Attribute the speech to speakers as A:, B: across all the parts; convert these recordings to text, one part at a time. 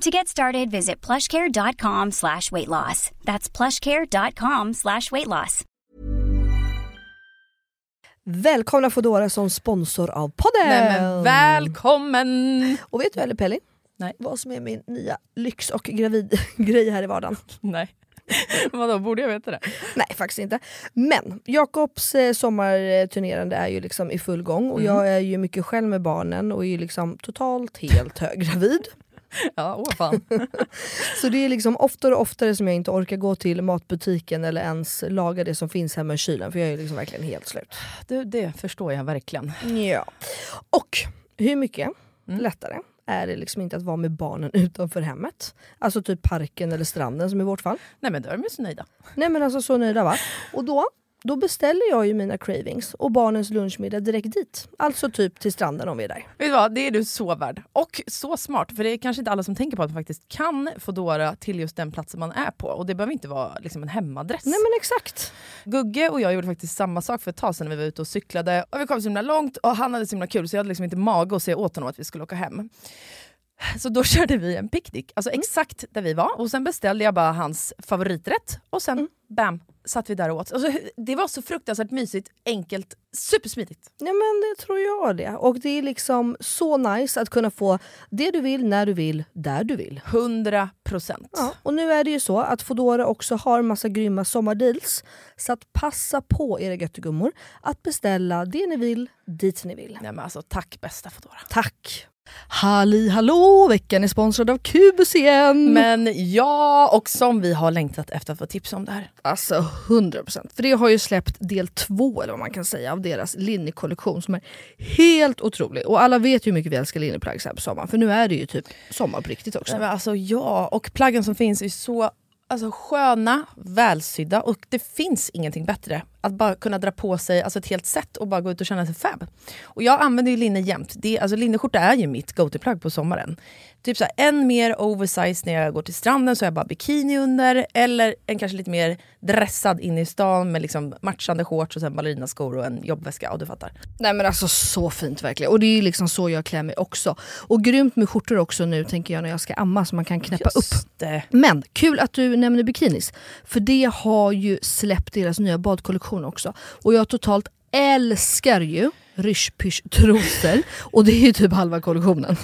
A: To get started, visit plushcare.com slash weight loss. That's plushcare.com slash weight loss.
B: Välkomna Foodora som sponsor av podden!
C: Nej men välkommen!
B: Och vet du eller Pelli?
C: Nej.
B: Vad som är min nya lyx och gravidgrej här i vardagen?
C: Nej. Vadå, borde jag veta det?
B: Nej faktiskt inte. Men Jakobs eh, sommarturnerande är ju liksom i full gång och jag
C: Mm.
B: är ju mycket själv med barnen och är ju liksom totalt helt höggravid.
C: Ja, åh fan.
B: Så det är liksom oftare och oftare som jag inte orkar gå till matbutiken eller ens laga det som finns hemma i kylen för jag är ju liksom verkligen helt slut.
C: Du, det förstår jag verkligen.
B: Ja. Och hur mycket lättare är det liksom inte att vara med barnen utanför hemmet? Alltså typ parken eller stranden som i vårt fall.
C: Nej men då är de ju så nöjda.
B: Nej men alltså så nöjda va? Och då, då beställer jag ju mina cravings och barnens lunchmiddag direkt dit. Alltså typ till stranden om vi är där.
C: Vet du vad, det är du så värd. Och så smart, för det är kanske inte alla som tänker på att man faktiskt kan Foodora till just den platsen man är på. Och det behöver inte vara liksom en hemadress.
B: Nej men exakt.
C: Gugge och jag gjorde faktiskt samma sak för ett tag sedan när vi var ute och cyklade. Och vi kom så himla långt och han hade så himla kul så jag hade liksom inte mage att säga åt honom att vi skulle åka hem. Så då körde vi en picknick, alltså exakt där vi var. Och sen beställde jag bara hans favoriträtt och sen bam, satt vi där och åt. Alltså, det var så fruktansvärt mysigt, enkelt, supersmidigt.
B: Nej men det tror jag det. Och det är liksom så nice att kunna få det du vill, när du vill, där du vill.
C: 100 procent.
B: Ja, och nu är det ju så att Foodora också har massa grymma sommardeals. Så att passa på era göttegummor att beställa det ni vill, dit ni vill.
C: Nej men alltså tack bästa Foodora.
B: Tack! Halli hallå! Veckan är sponsrad av Kubus igen!
C: Men ja, och som vi har längtat efter att få tips om det här.
B: Alltså 100%. För det har ju släppt del två eller vad man kan säga av deras linnekollektion som är helt otrolig. Och alla vet ju hur mycket vi älskar linneplagg så här på sommaren. För nu är det ju typ sommar på riktigt också.
C: Nej, men alltså ja, och plaggen som finns är så alltså, sköna, välsydda och det finns ingenting bättre. Att bara kunna dra på sig alltså, ett helt set och bara gå ut och känna sig fab. Och jag använder ju linne jämt. Det, alltså, linneskjorta är ju mitt go-to-plagg på sommaren. Typ så här, en mer oversized när jag går till stranden så har jag bara bikini under. Eller en kanske lite mer dressad inne i stan med liksom matchande shorts och sen ballerinaskor och en jobbväska. Ja, du fattar.
B: Nej men alltså så fint verkligen. Och det är ju liksom så jag klär mig också. Och grymt med skjortor också nu tänker jag när jag ska amma så man kan knäppa upp.
C: Just det.
B: Men kul att du nämner bikinis. För det har ju släppt deras nya badkollektion också. Och jag totalt älskar ju rysch trosor Och det är ju typ halva kollektionen.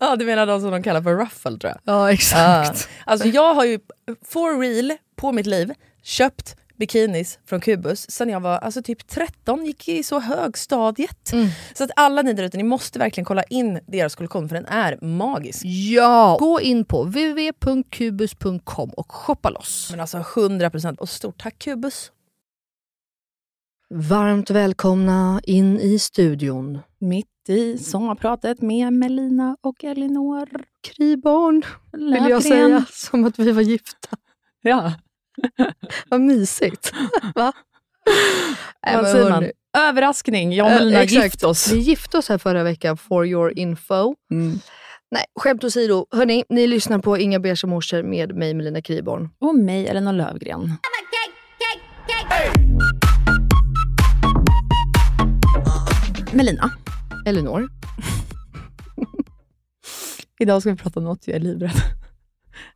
C: Ja, du menar de som de kallar för ruffle tror jag.
B: Ja
C: Exakt. Alltså jag har ju for real på mitt liv köpt bikinis från Kubus sen jag var alltså typ 13, gick i så högstadiet.
B: Ah. Mm.
C: Så att alla ni där ute, ni måste verkligen kolla in deras kollektion för den är magisk.
B: Ja! Gå in på www.kubus.com och shoppa loss.
C: Men alltså 100% och stort tack Kubus.
B: Varmt välkomna in i studion.
C: Mitt i sommarpratet med Melina och Elinor.
B: Krybarn vill jag säga, som att vi var gifta.
C: Ja.
B: Vad mysigt. Va? Nej, men
C: Vad säger man?
B: hörni.
C: Överraskning, jag och
B: Eh,
C: Melina
B: exakt.
C: gift oss. Mm.
B: Vi gifte oss här förra veckan, for your info. Nej, skämt åsido. Hörni, ni lyssnar på Inga beiga morsor med mig Melina Kriborn.
C: Och mig, Elinor Lövgren.
D: cake, cake, cake.
B: Melina. Elinor.
C: Idag ska vi prata om något jag är livrädd.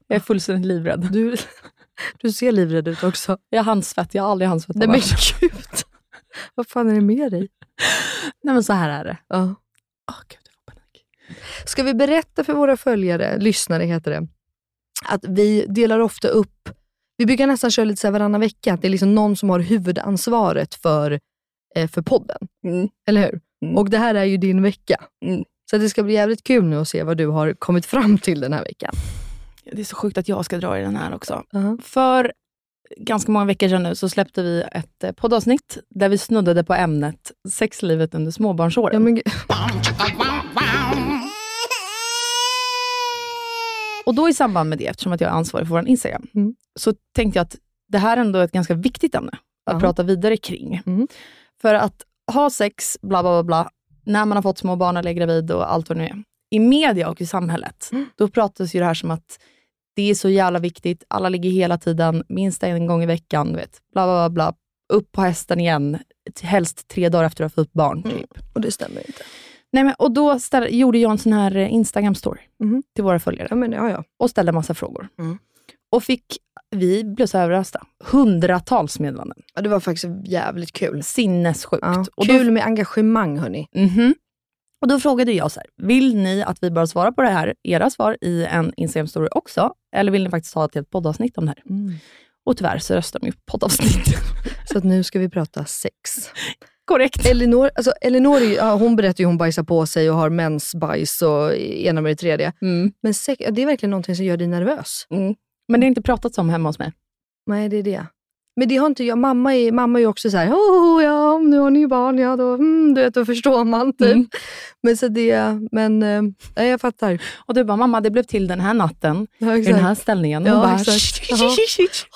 C: Jag är fullständigt livrädd.
B: Du, du ser livrädd ut också.
C: Jag har handsvett, jag har aldrig handsvett.
B: Nej men gud. Vad fan är det med dig?
C: Nej men så här är det.
B: Ja.
C: Åh, gud, jag får panik.
B: Ska vi berätta för våra följare, lyssnare heter det, att vi delar ofta upp, vi brukar nästan köra lite så här varannan vecka, att det är liksom någon som har huvudansvaret för, eh, för podden.
C: Mm.
B: Eller hur?
C: Mm.
B: Och det här är ju din vecka.
C: Mm.
B: Så det ska bli jävligt kul nu att se vad du har kommit fram till den här veckan.
C: Det är så sjukt att jag ska dra i den här också.
B: Uh-huh.
C: För ganska många veckor sedan nu så släppte vi ett eh, poddavsnitt där vi snuddade på ämnet sexlivet under småbarnsåren.
B: Ja, men, gud.
C: Och då i samband med det, eftersom att jag är ansvarig för vår Instagram,
B: Mm.
C: så tänkte jag att det här ändå är ett ganska viktigt ämne att
B: Ja.
C: prata vidare kring.
B: Mm.
C: För att ha sex, bla bla bla, bla, när man har fått små barn eller är gravid och allt vad det nu är. I media och i samhället,
B: Mm.
C: då pratas ju det här som att det är så jävla viktigt, alla ligger hela tiden, minst en gång i veckan, du vet, bla bla bla, bla. upp på hästen igen, helst tre dagar efter att du har fått barn.
B: Mm.
C: Typ.
B: och det stämmer inte.
C: Nej, men, och då ställ, gjorde jag en sån här eh, Instagram-story
B: Mhm.
C: till våra följare
B: Ja, men, ja, ja.
C: och ställde massa frågor.
B: Mm.
C: Och fick, vi blev så överrösta. Hundratals meddelanden.
B: ja, det var faktiskt jävligt kul.
C: Sinnessjukt.
B: Ja.
C: Och då,
B: Kul med engagemang hörni.
C: Mhm. Och då frågade jag så här, vill ni att vi bara svarar på det här, era svar, i en Instagram-story också? Eller vill ni faktiskt ha ett helt poddavsnitt om det här?
B: Mm.
C: Och tyvärr så röstade de ju på poddavsnitt.
B: Så att nu ska vi prata sex.
C: Korrekt.
B: Elinor, alltså Elinor är ju- ja, hon berättar ju hon bajsar på sig och har mensbajs och ena med det tredje.
C: Mm.
B: Men sex, ja, det är verkligen någonting som gör dig nervös.
C: Mm. Men det har inte pratats om hemma hos mig.
B: Nej, det är det. Men det har inte jag. Mamma är, mamma är ju också så här, oh, ja, om nu har ni barn, ja då, mm, du vet, då förstår man typ.
C: Mm.
B: Men så det, men eh, ja, jag fattar.
C: Och du bara, mamma det blev till den här natten,
B: Ja,
C: i den
B: exakt.
C: här ställningen.
B: Ja,
C: Hon bara,
B: exakt. Ja.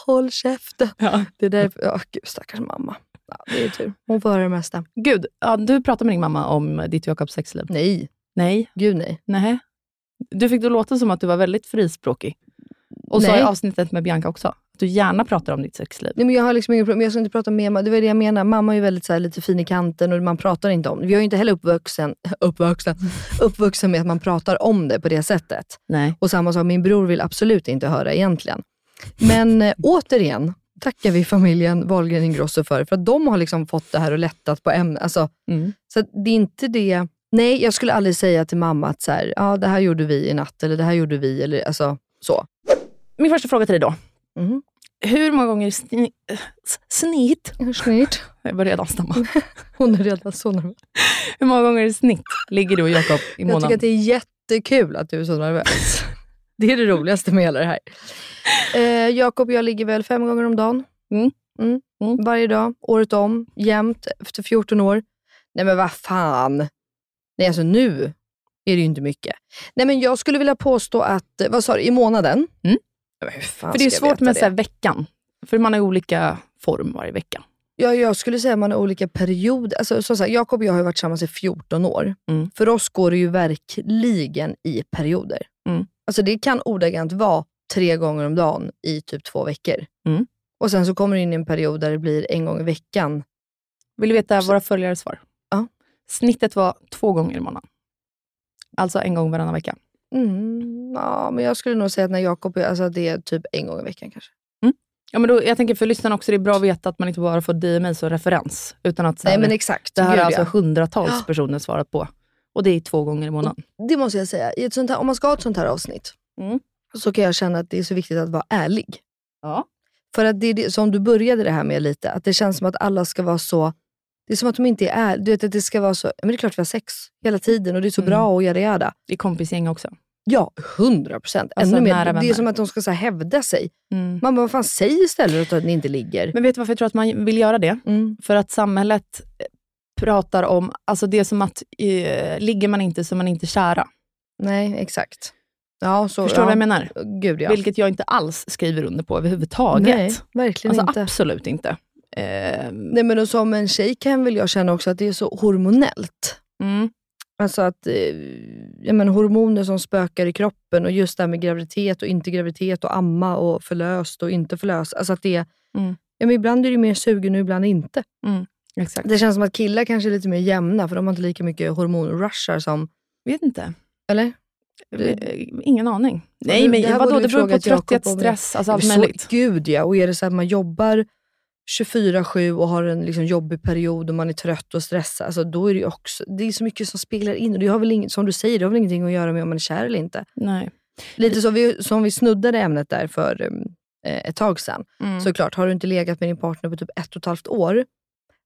B: Håll käften.
C: Ja.
B: Det är därför, ja gud stackars mamma. Ja, det är tur. Hon får höra det mesta.
C: Gud, ja, du pratade med din mamma om ditt Jakobs sexliv.
B: Nej,
C: Nej.
B: gud nej.
C: Nej. Du fick det låta som att du var väldigt frispråkig. Och så
B: Nej.
C: i avsnittet med Bianca också. Att du gärna pratar om ditt sexliv.
B: Nej, men jag har liksom inget problem, men jag ska inte prata med mamma. Det var det jag menar. Mamma är ju väldigt så här, lite fin i kanten och man pratar inte om det. Vi har ju inte heller uppvuxen, uppvuxen, uppvuxen med att man pratar om det på det sättet.
C: Nej.
B: Och samma sak, min bror vill absolut inte höra egentligen. Men eh, återigen tackar vi familjen Wahlgren Ingrosso för, för att de har liksom fått det här och lättat på ämnet. Alltså,
C: Mm.
B: så att det är inte det. Nej, jag skulle aldrig säga till mamma att så här, ja, det här gjorde vi i natt, eller det här gjorde vi, eller alltså så.
C: Min första fråga till dig då.
B: Mhm.
C: Hur många gånger sni- äh, s- snitt...
B: Snitt.
C: Jag börjar redan stamma.
B: Hon är redan så nervös.
C: Hur många gånger i snitt ligger du och Jakob i
B: Jag tycker att
C: månaden?
B: det är jättekul att du är så nervös. det är det roligaste med hela det här. Eh, Jakob, jag ligger väl fem gånger om dagen.
C: Mm.
B: Mm.
C: Mm.
B: Varje dag, året om, jämt, efter 14 år. Nej men vad fan. Nej alltså nu är det ju inte mycket. Nej men jag skulle vilja påstå att, eh, vad sa du, i månaden?
C: Mm.
B: Ja, Men hur fan
C: För det är
B: ska jag
C: svårt
B: veta
C: med
B: det?
C: så här veckan. För man har olika form varje vecka.
B: Ja, jag skulle säga att man har olika perioder. Alltså, som sagt, Jakob och jag har ju varit tillsammans i 14 år.
C: Mm.
B: För oss går det ju verkligen i perioder.
C: Mm.
B: Alltså Det kan ordagrant vara tre gånger om dagen i typ två veckor.
C: Mm.
B: Och Sen så kommer det in i en period där det blir en gång i veckan.
C: Vill du veta våra följares svar?
B: Ja.
C: Snittet var två gånger i månaden. Alltså en gång varannan vecka.
B: Mm, ja, men jag skulle nog säga att när Jakob är- alltså det är typ en gång i veckan kanske.
C: Ja, men då, jag tänker för lyssnarna också, det är bra att veta att man inte bara får DMI som referens. Utan att så här,
B: Nej, men exakt.
C: det här
B: Gud,
C: har alltså
B: ja.
C: hundratals
B: Ja.
C: personer svarat på. Och det är två gånger i månaden.
B: Det måste jag säga. I ett sånt här, om man ska ha ett sånt här avsnitt
C: Mm.
B: så kan jag känna att det är så viktigt att vara ärlig.
C: Ja.
B: För att det är det som du började det här med lite, att det känns som att alla ska vara så... Det är som att de inte är... Du vet att det ska vara så... Men det är klart vi har sex hela tiden och det är så
C: Mm.
B: bra och yada yada.
C: I kompisgäng också.
B: Ja, hundra procent.
C: Alltså,
B: Ännu mer.
C: nära
B: Det är
C: vänner.
B: som att de ska så här, hävda sig.
C: Mm.
B: Man bara, vad fan, säg istället att ni inte ligger.
C: Men vet du varför jag tror att man vill göra det?
B: Mm.
C: För att samhället eh, pratar om, alltså det är som att eh, ligger man inte så är man inte kära.
B: Nej, exakt. Ja, så,
C: Förstår du
B: ja.
C: vad jag menar?
B: Gud ja.
C: Vilket jag inte alls skriver under på överhuvudtaget.
B: Nej, verkligen
C: alltså
B: inte.
C: absolut inte. Eh,
B: Nej, men och som en tjej kan väl jag känna också att det är så hormonellt.
C: mm.
B: Alltså att eh, jag menar, hormoner som spökar i kroppen och just det här med graviditet och inte graviditet och amma och förlöst och inte förlöst. Alltså att det,
C: Mm.
B: ja, men ibland är du mer sugen och ibland inte.
C: Exakt.
B: Det känns som att killar kanske är lite mer jämna för de har inte lika mycket hormonrushar som...
C: Vet inte.
B: Eller?
C: Eh, Ingen aning. Nej,
B: du-
C: men
B: det här
C: vadå,
B: borde
C: det
B: du
C: beror på
B: frågat Jakob
C: trötthet,
B: om.
C: stress, alltså allt
B: Så-
C: möjligt.
B: Gud ja, och är det så att man jobbar 24-7 och har en liksom jobbig period och man är trött och stressad, alltså då är det ju också... Det är så mycket som speglar in och det har väl inget, som du säger, det har väl ingenting att göra med om man är kär eller inte.
C: Nej.
B: Lite som vi, som vi snuddade ämnet där för um, eh, ett tag sedan.
C: Mm.
B: Såklart, har du inte legat med din partner på typ ett och ett halvt år,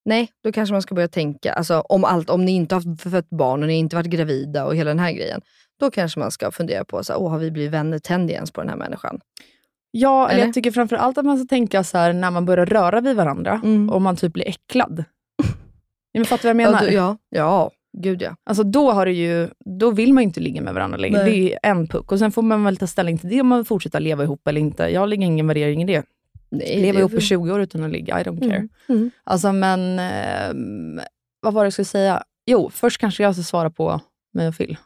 B: nej, då kanske man ska börja tänka, alltså om allt, om ni inte har haft- fött barn och ni inte varit gravida och hela den här grejen. Då kanske man ska fundera på, så här, Åh, har vi blivit vänner, tänder jag ens på den här människan?
C: Ja, eller
B: Eller?
C: jag tycker framförallt att man ska tänka så här när man börjar röra vid varandra,
B: Mm.
C: om man typ blir äcklad. Nej, men fattar du vad jag
B: Ja,
C: menar?
B: då- ja, ja, gud ja.
C: Alltså då, har det ju, då vill man ju inte ligga med varandra längre.
B: Nej.
C: Det är ju en puck. Och sen får man väl ta ställning till det om man vill fortsätta leva ihop eller inte. Jag lägger ingen värdering i det.
B: Nej,
C: Leva
B: det-
C: ihop i 20 år utan att ligga, I don't care.
B: Mm, mm.
C: Alltså men, ehm, vad var det jag skulle säga? Jo, först kanske jag ska svara på mig och Phil.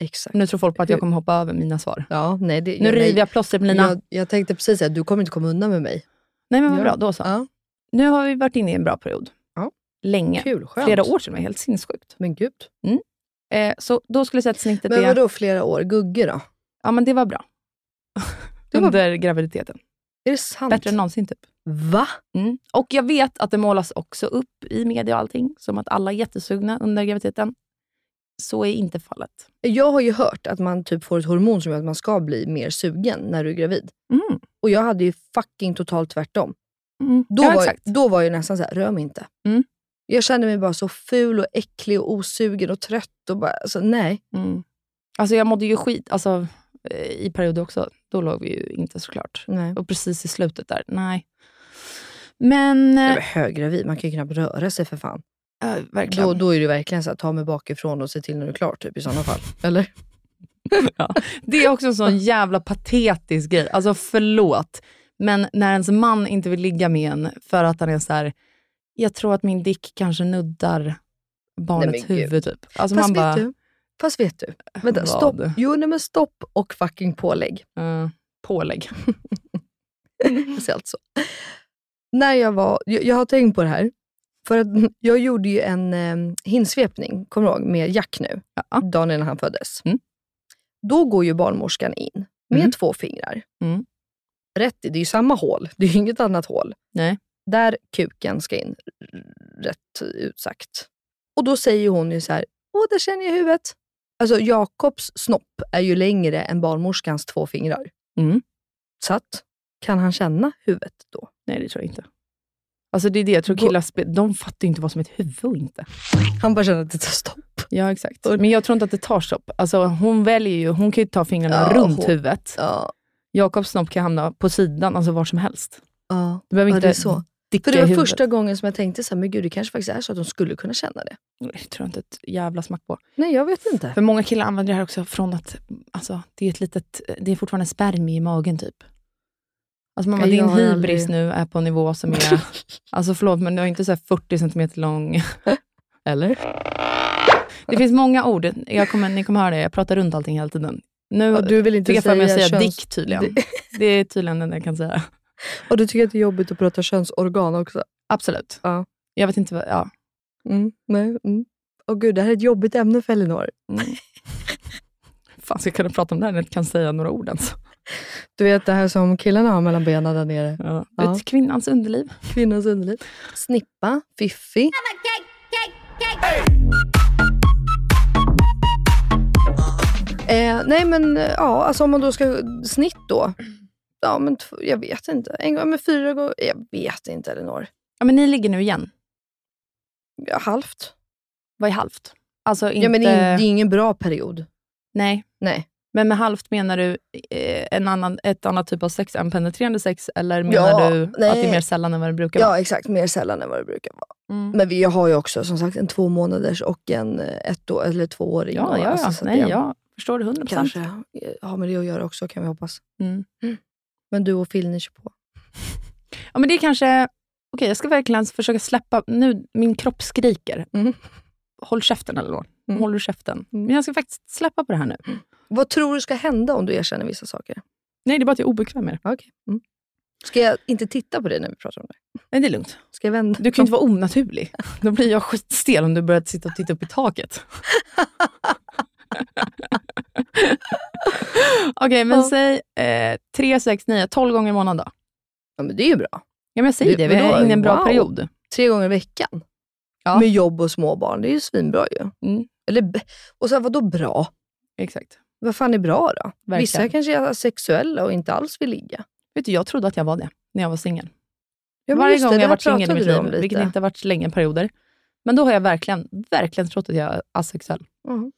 B: Exakt.
C: Nu tror folk på att jag
B: Hur-
C: kommer hoppa över mina svar.
B: Ja, nej, det,
C: Nu
B: ja, nej.
C: river jag plåster på Lina.
B: Jag, jag tänkte precis säga, du kommer inte komma undan med mig.
C: Nej men vad
B: Ja.
C: bra, då så.
B: Ja.
C: Nu har vi varit inne i en bra period.
B: Ja.
C: Länge.
B: Kul, skönt.
C: Flera år sedan, det var helt sinnessjukt.
B: Men gud.
C: Eh, så då skulle jag säga att snittet
B: Men
C: är...
B: vadå flera år? Gugge då?
C: Ja men det var bra.
B: Det var-
C: Under graviditeten.
B: Är det sant?
C: Bättre än någonsin typ.
B: Va?
C: Mm. Och jag vet att det målas också upp i media och allting, som att alla är jättesugna under graviditeten. Så är inte fallet.
B: Jag har ju hört att man typ får ett hormon som gör att man ska bli mer sugen när du är gravid.
C: Mm.
B: Och jag hade ju fucking totalt tvärtom.
C: Mm.
B: Då,
C: ja,
B: var,
C: exakt.
B: då var jag nästan så här, rör mig inte.
C: Mm.
B: Jag kände mig bara så ful och äcklig och osugen och trött och bara, alltså nej.
C: Mm. Alltså jag mådde ju skit alltså, eh, i perioder också. Då låg vi ju inte såklart.
B: nej.
C: Och precis i slutet där, nej. Men...
B: Jag var
C: Eh,
B: höggravid, man kan ju knappt röra sig för fan.
C: eh, verkligen.
B: Då, då är det verkligen så här, ta mig bakifrån och se till när du är klar typ i sådana fall. Eller?
C: Ja. Det är också en sån jävla patetisk grej. Alltså förlåt, men när ens man inte vill ligga med en för att han är så här, jag tror att min dick kanske nuddar
B: Nej,
C: barnets
B: men gud.
C: huvud. Typ. Alltså
B: Fast
C: man
B: vet
C: bara,
B: du? Fast vet du? Vänta,
C: Vad?
B: stopp. Jo, nej, men stopp och fucking pålägg.
C: eh, pålägg.
B: speciellt så. När jag var, jag, jag har tänkt på det här, för att jag gjorde ju en eh, hinnsvepning, kommer du ihåg, med Jack nu,
C: Ja.
B: dagen innan han föddes.
C: Mm.
B: Då går ju barnmorskan in med
C: Mm.
B: två fingrar.
C: Mm.
B: Rätt i, det är ju samma hål, det är ju inget annat hål.
C: Nej.
B: Där kuken ska in, rätt ut sagt. Och då säger hon ju så här, åh, där känner jag huvudet. Alltså Jakobs snopp är ju längre än barnmorskans två fingrar.
C: Mm.
B: Så att, kan han känna huvudet då?
C: Nej, det tror jag inte. Alltså det är det, jag tror killar spe- de fattar ju inte vad som är ett huvud och inte.
B: Han bara känner att det tar stopp.
C: Ja, exakt. Men jag tror inte att det tar stopp. Alltså hon väljer ju, hon kan ju ta fingrarna
B: Ja,
C: runt
B: hon-
C: huvudet.
B: Ja.
C: Jakobs snopp kan hamna på sidan, alltså var som helst.
B: ja.
C: Du behöver
B: Ja,
C: inte
B: det är så.
C: dicka
B: För det
C: i
B: var
C: huvudet.
B: första gången som jag tänkte så här, men gud det kanske faktiskt är så att de skulle kunna känna det.
C: Nej, Det tror jag inte ett jävla smack på.
B: Nej, jag vet inte.
C: För många killar använder det här också från att alltså, det är ett litet, det är fortfarande en spermie i magen typ. Alltså mamma,
B: Ja, jag
C: din
B: har
C: hybris
B: aldrig-
C: nu är på en nivå som är, alltså förlåt men du är inte så här 40 centimeter lång. Eller? Det finns många ord, jag kommer, ni kommer höra det, jag pratar runt allting hela tiden. Nu
B: Och du vill inte
C: fick jag för mig att säga
B: köns...
C: dick tydligen. Det är tydligen det enda jag kan säga.
B: Och du tycker att det är jobbigt att prata könsorgan också?
C: Absolut.
B: Ja.
C: Jag vet inte vad, ja.
B: Mm. Nej. Mm. Åh gud, det här är ett jobbigt ämne för Elinor.
C: Fan ska jag kunna prata om det här när jag inte kan säga några ord alltså? ens?
B: Du vet det här som killarna har mellan benen där nere.
C: Ja.
B: Ja.
C: Vet, kvinnans underliv.
B: Kvinnans underliv. Snippa, fiffi. Eh, nej men eh, ja, alltså om man då ska snitt då. Ja men tv- jag vet inte. En gång, men fyra gånger. Jag vet inte Elinor.
C: Ja, men ni ligger nu igen.
B: Ja, halvt.
C: Vad är halvt? Alltså inte...
B: Ja men det är, det är ingen bra period.
C: Nej,
B: Nej.
C: men med halvt menar du eh, en annan, ett annat typ av sex än penetrerande sex? Eller menar
B: Ja,
C: du att det
B: nej.
C: är mer sällan än vad det brukar vara?
B: Ja exakt, mer sällan än vad det brukar vara.
C: Mm.
B: Men vi jag har ju också som sagt en två månaders och en eh, ett år, eller tvååring.
C: Ja,
B: och
C: ja,
B: alltså,
C: ja.
B: så att
C: Nej,
B: det-
C: jag förstår det hundra procent.
B: Kanske eh, har med det att göra också kan vi hoppas.
C: Mm.
B: Men du och Phil, ni kör på.
C: Ja, men det är kanske... Okej, jag ska verkligen försöka släppa... Nu, min kropp skriker.
B: Mm.
C: Håll käften, eller vad?
B: Mm.
C: Håll du käften.
B: Mm.
C: Men jag ska faktiskt släppa på det här nu.
B: Vad tror du ska hända om du erkänner vissa saker?
C: Nej, det är bara att jag är obekväm med det.
B: Okej. Mm. Ska jag inte titta på det när vi pratar om det?
C: Nej, det är lugnt.
B: Ska jag vända?
C: Du kan ju inte vara onaturlig. Då blir jag skitstel om du börjar sitta och titta upp i taket. Okej, men
B: Ja.
C: säg eh, 3, 6, 9, 12 gånger i månaden då.
B: Ja, men det är ju bra.
C: Ja, men jag säger
B: Det-
C: det. Vi
B: vadå?
C: är inne i en bra
B: Wow.
C: period.
B: Tre gånger i veckan.
C: Ja.
B: Med jobb och småbarn. Det är ju svinbra ju.
C: Mm.
B: Eller, b- och sen vadå bra?
C: Exakt.
B: Vad fan är bra då?
C: Verkligen.
B: Vissa kanske är sexuella och inte alls vill ligga.
C: Vet du, jag trodde att jag var det när jag var singel.
B: Ja, men
C: Varje
B: just
C: gång
B: det,
C: jag
B: det
C: har
B: här
C: varit singel i mitt
B: pratade vi om
C: liv,
B: lite.
C: vilket inte har varit länge perioder. Men då har jag verkligen, verkligen trott att jag är asexuell.
B: Mm.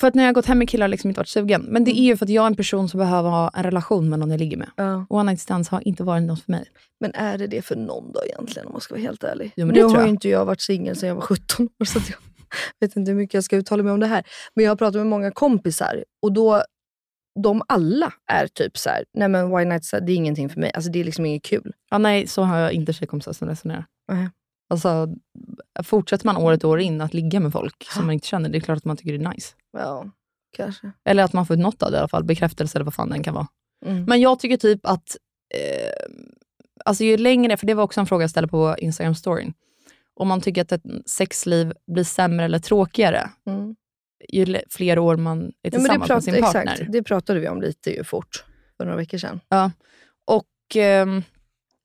C: För att när jag har gått hem med killar har jag liksom inte varit sugen. Men
B: Mm.
C: det är ju för att jag är en person som behöver ha en relation med någon jag ligger med.
B: Ja.
C: One night stands har inte varit något för mig.
B: Men är det det för någon då egentligen om man ska vara helt ärlig?
C: Jo, men
B: nu
C: det tror
B: har
C: jag.
B: ju inte jag varit singel sedan jag var 17 år så att jag vet inte hur mycket jag ska uttala mig om det här. Men jag har pratat med många kompisar och då de alla är typ så här, nej men why night stand, det är ingenting för mig. Alltså det är liksom inget kul.
C: Ja, nej, så har jag inte tjejkompisar som resonerar.
B: Nej.
C: Alltså, fortsätter man året och år in att ligga med folk som man inte känner, det är klart att man tycker det är nice.
B: Ja, kanske.
C: Eller att man får ut något av det i alla fall, bekräftelse eller vad fan den kan vara.
B: Mm.
C: Men jag tycker typ att, eh, alltså ju längre, för det var också en fråga jag ställde på Instagram-storyn, om man tycker att ett sexliv blir sämre eller tråkigare
B: Mm.
C: ju le- fler år man är
B: Ja, men det,
C: tillsammans med
B: prat,
C: sin partner.
B: exakt, det pratade vi om lite ju fort för några veckor sedan.
C: Och, ehm,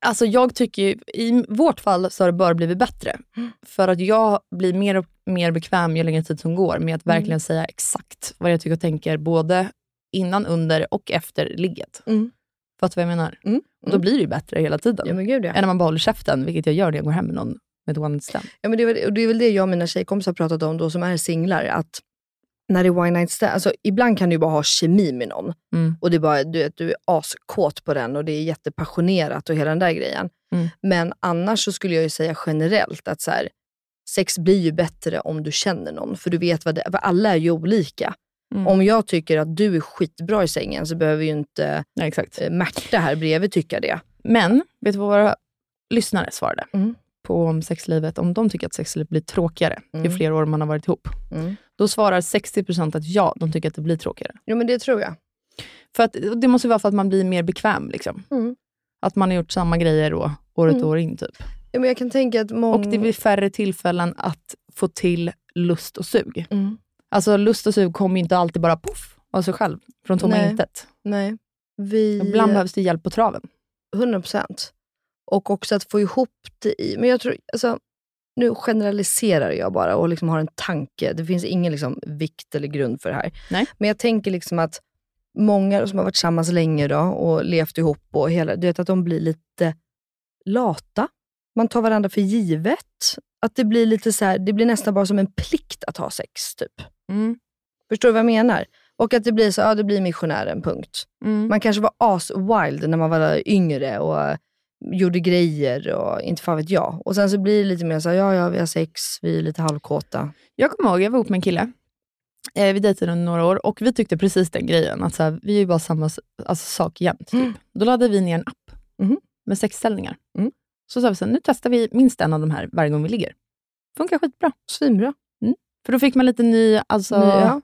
C: alltså jag tycker ju, i vårt fall så har det bara blivit bättre.
B: Mm.
C: För att jag blir mer och mer bekväm ju längre tid som går med
B: Mm.
C: att verkligen säga exakt vad jag tycker och tänker, både innan, under och efter ligget.
B: Mm.
C: Fattar du vad jag menar?
B: Mm.
C: Och då blir det ju bättre hela tiden.
B: Ja men gud ja.
C: Än när man bara håller käften, vilket jag gör när jag går hem med någon med ett one night stand.
B: Ja, men det, är väl, och det är väl det jag och mina tjejkompisar har pratat om då som är singlar. Att när det är one night stand, alltså ibland kan du ju bara ha kemi med någon.
C: Mm.
B: Och det är bara, du, vet, du är askåt på den och det är jättepassionerat och hela den där grejen.
C: Mm.
B: Men annars så skulle jag ju säga generellt att så här, sex blir ju bättre om du känner någon. För du vet vad det för alla är ju olika.
C: Mm.
B: Om jag tycker att du är skitbra i sängen så behöver ju inte
C: Ja, exakt.
B: eh, Märta här bredvid tycka det.
C: Men, vet du vad våra lyssnare svarade
B: Mm.
C: på om sexlivet, om de tycker att sexlivet blir tråkigare ju
B: Mm.
C: fler år man har varit ihop?
B: Mm.
C: Då svarar 60% att ja, de tycker att det blir tråkigare.
B: Jo men det tror jag.
C: För att, och det måste ju vara för att man blir mer bekväm. Liksom.
B: Mm.
C: Att man har gjort samma grejer då, året och år in. Typ.
B: Ja, men jag kan tänka att många...
C: Och det blir färre tillfällen att få till lust och sug.
B: Mm.
C: Alltså lust och sug kommer ju inte alltid bara poff av sig själv, från tomma
B: Nej.
C: intet.
B: Nej. Vi...
C: Ibland behövs det hjälp på traven.
B: 100 procent. Och också att få ihop det i... Men jag tror, alltså, nu generaliserar jag bara och liksom har en tanke. Det finns ingen liksom vikt eller grund för det här.
C: Nej.
B: Men jag tänker liksom att många som har varit tillsammans länge då och levt ihop, och hela, du vet att de blir lite lata. Man tar varandra för givet. Att det blir lite så här, det blir nästan bara som en plikt att ha sex. typ. Förstår du vad jag menar? Och att det blir så, ja det blir missionären, punkt.
C: Mm.
B: Man kanske var as-wild när man var yngre och eh, gjorde grejer och inte fan vet jag. Och sen så blir det lite mer så här, ja, ja, vi har sex, vi är lite halvkåta.
C: Jag kommer ihåg, jag var ihop med en kille. Eh, vi dejtade under några år och vi tyckte precis den grejen. Att så här, vi är ju bara samma s- alltså, sak jämt. Typ. Då laddade vi ner en app
B: Mm. Mhm.
C: med sexställningar.
B: Mm.
C: Så sa vi så här, nu testar vi minst en av de här varje gång vi ligger. Funkar skitbra.
B: Svinbra.
C: För då fick man lite ny, alltså,
B: Ja.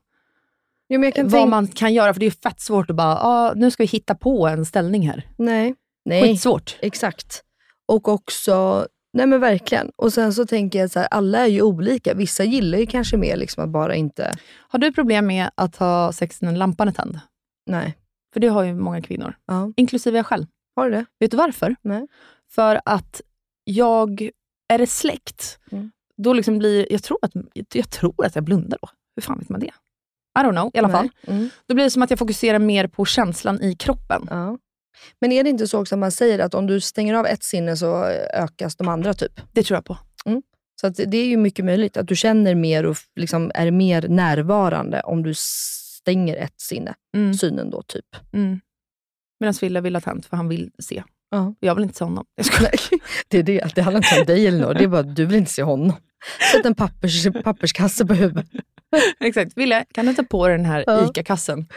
B: Ja, men jag kan
C: vad
B: tänka...
C: man kan göra. För det är ju fett svårt att bara, ah, nu ska vi hitta på en ställning här.
B: Nej. Nej.
C: Skitsvårt.
B: Exakt. Och också, nej men verkligen. Och sen så tänker jag så här, alla är ju olika. Vissa gillar ju kanske mer liksom att bara inte,
C: Har du problem med att ha sex när lampan är tänd?
B: nej.
C: För det har ju många kvinnor,
B: Ja.
C: inklusive jag själv.
B: Har du det?
C: Vet du varför?
B: Nej.
C: För att jag, är det släkt,
B: Mm.
C: då liksom blir, jag tror, att, jag tror att jag blundar då. Hur fan vet man det? I don't know, i alla fall.
B: Nej. Mm.
C: Då blir det som att jag fokuserar mer på känslan i kroppen.
B: Ja. Men är det inte så också att man säger att om du stänger av ett sinne så ökas de andra typ?
C: Det tror jag på.
B: Så att det är ju mycket möjligt att du känner mer och f- liksom är mer närvarande om du stänger ett sinne.
C: Mm.
B: Synen då, typ.
C: Mm. Medan Wille vill ha tänt, för han vill se.
B: Ja.
C: Jag vill inte se honom. Jag skojar.
B: Det, är det, det handlar inte om dig eller något. Det är bara att du vill inte se honom. Sätt en pappers, papperskasse på huvudet.
C: Exakt. Wille, kan du ta på dig den här
B: Ja.
C: ICA-kassen?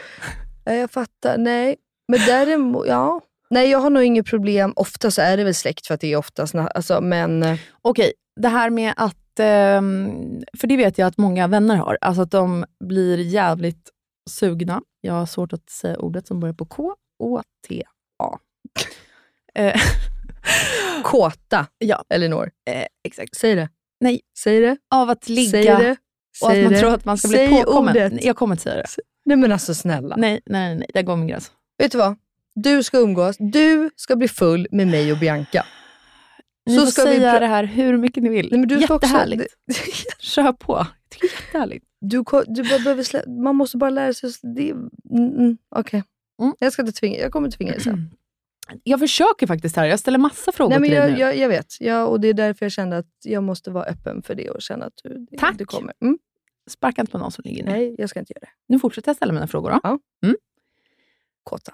B: Nej, jag fattar. Nej. Men däremot, ja. Nej, jag har nog inget problem. Ofta så är det väl släkt för att det är oftast, na- alltså, men eh,
C: Okej, det här med att... ehm, För det vet jag att många vänner har. Alltså att de blir jävligt sugna. Jag har svårt att säga ordet som börjar på K. Å-T-A. Eh,
B: Kåta,
C: ja,
B: Elinor.
C: eh, exakt.
B: Säg det.
C: Nej.
B: Säg det.
C: Av att
B: Säg
C: ligga
B: det.
C: och att
B: Säg
C: man
B: det.
C: tror att man ska bli
B: Säg
C: påkommen.
B: ordet.
C: Nej, Jag kommer inte säga det.
B: Nej men alltså snälla.
C: Nej, nej, nej, nej. Där går min gräns.
B: Vet du vad? Du ska umgås. Du ska bli full med mig och Bianca.
C: Ni
B: Så
C: får
B: ska vi
C: säga
B: pra-
C: det här hur mycket ni vill.
B: Nej, men du ska också-
C: Jättehärligt. Kör på. Jag tycker det är jättehärligt.
B: Du, ko- du bara behöver slä, man måste bara lära sig. att slä- Det, mm, mm, Okej.
C: Mm.
B: Jag ska inte tvinga Jag kommer inte tvinga dig sen.
C: Jag försöker faktiskt här. Jag ställer massa frågor
B: Nej, men
C: till dig
B: jag,
C: nu.
B: jag, jag vet. Jag, och det är därför jag kände att jag måste vara öppen för det och känna att du,
C: Tack.
B: du kommer. Mm.
C: Sparka inte på någon som ligger ner.
B: Nej, jag ska inte göra det.
C: Nu fortsätter jag ställa mina frågor. Då.
B: Ja.
C: Mm.
B: Kåta.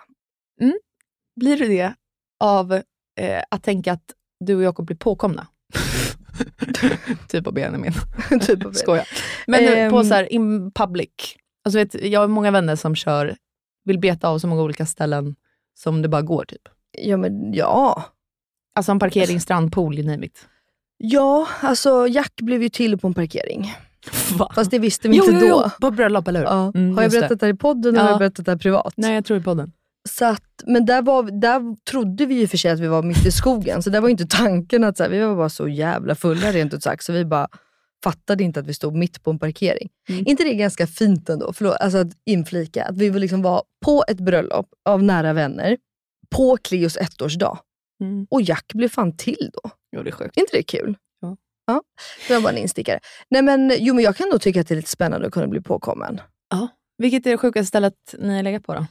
C: Blir du det av eh, att tänka att du och Jakob blir påkomna? typ av Benjamin.
B: typ av det.
C: Skojar. Men nu, på
B: Ehm.
C: så här in public. Alltså vet, jag har många vänner som kör, vill beta av så många olika ställen som det bara går. typ.
B: Ja, men ja.
C: Alltså en parkering, strand, pool, you name it.
B: Ja, alltså Jack blev ju till på en parkering.
C: Va?
B: Fast det visste vi inte då.
C: På bröllop, eller hur?
B: Ja.
C: Mm,
B: har jag
C: just det.
B: berättat det här i podden
C: Ja.
B: eller har jag berättat det här privat?
C: Nej, jag tror i podden.
B: Så att, men där, var, vi- där trodde vi ju för sig att vi var mitt i skogen, så där var ju inte tanken att så här, vi var bara så jävla fulla rent ut sagt, så vi bara fattade inte att vi stod mitt på en parkering.
C: Mm.
B: inte det ganska fint ändå, förlåt, alltså att inflika, att vi vill liksom vara på ett bröllop av nära vänner, på Cleos ettårsdag.
C: Mm.
B: Och Jack blev fan till då.
C: Jo, det är sjukt.
B: Är inte det kul?
C: Ja.
B: ja. Det var bara en instickare. Nej, men, jo, men jag kan nog tycka att det är lite spännande att kunna bli påkommen.
C: Vilket är det sjukaste stället ni har legat på då?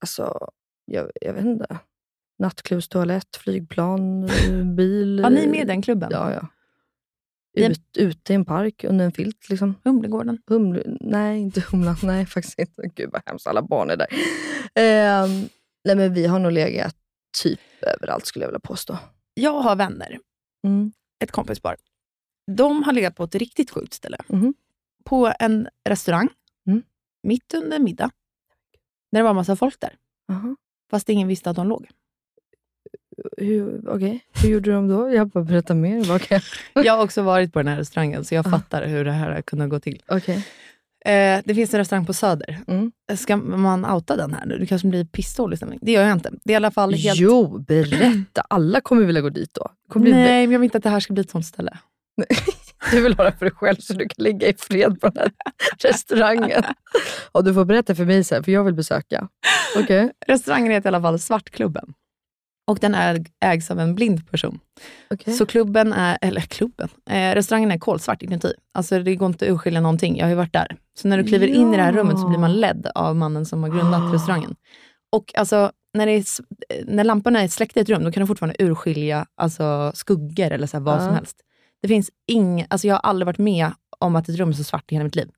B: Alltså, jag, jag vet inte. Nattklubbstoalett, flygplan, eh, bil. eh,
C: Var ni med i den klubben?
B: Ja, ja.
C: Den-
B: Ut, ute i en park under en filt. Liksom.
C: Humlegården?
B: Huml, nej, inte humlan. Nej, faktiskt inte. Gud vad hemskt, alla barn är där. Ehm, nej, men vi har nog legat typ överallt skulle jag vilja påstå.
C: Jag har vänner,
B: Mm.
C: ett kompispar. De har legat på ett riktigt sjukt ställe.
B: Mhm.
C: På en restaurang,
B: Mm.
C: mitt under middag. När det var en massa folk där,
B: Aha.
C: fast ingen visste att de låg.
B: Hur, okej. Hur gjorde de då? Jag bara, berätta mer. Vad kan
C: Jag har också varit på den här restaurangen, så jag
B: Ah.
C: fattar hur det här har kunnat gå till.
B: jag? Okej.
C: Eh, det finns en restaurang på Söder.
B: Mm.
C: Ska man outa den här nu? Du kanske blir pissdålig stämning. Det gör jag inte. Det är i alla fall helt...
B: Jo, berätta. Alla kommer vilja gå dit då. Det Kommer bli vä-
C: Nej, men jag vill inte att det här ska bli ett sånt ställe.
B: Du vill ha det för dig själv så du kan ligga i fred på den här restaurangen. Och du får berätta för mig sen, för jag vill besöka. Okej?
C: Restaurangen heter i alla fall Svartklubben. Och den äg- ägs av en blind person.
B: Okej.
C: Så klubben är, eller klubben, eh, restaurangen är kolsvart inuti. Alltså det går inte att urskilja någonting. Jag har ju varit där. Så när du kliver in i det här
B: Ja. Ah.
C: rummet så blir man ledd av mannen som har grundat restaurangen. Och alltså, när, det är, s- eh, när lamporna är släckta i ett rum, då kan du fortfarande urskilja alltså, skuggor eller så här, vad
B: Ja.
C: som helst. Det finns ing, alltså, jag har aldrig varit med om att ett rum är så svart i hela mitt liv.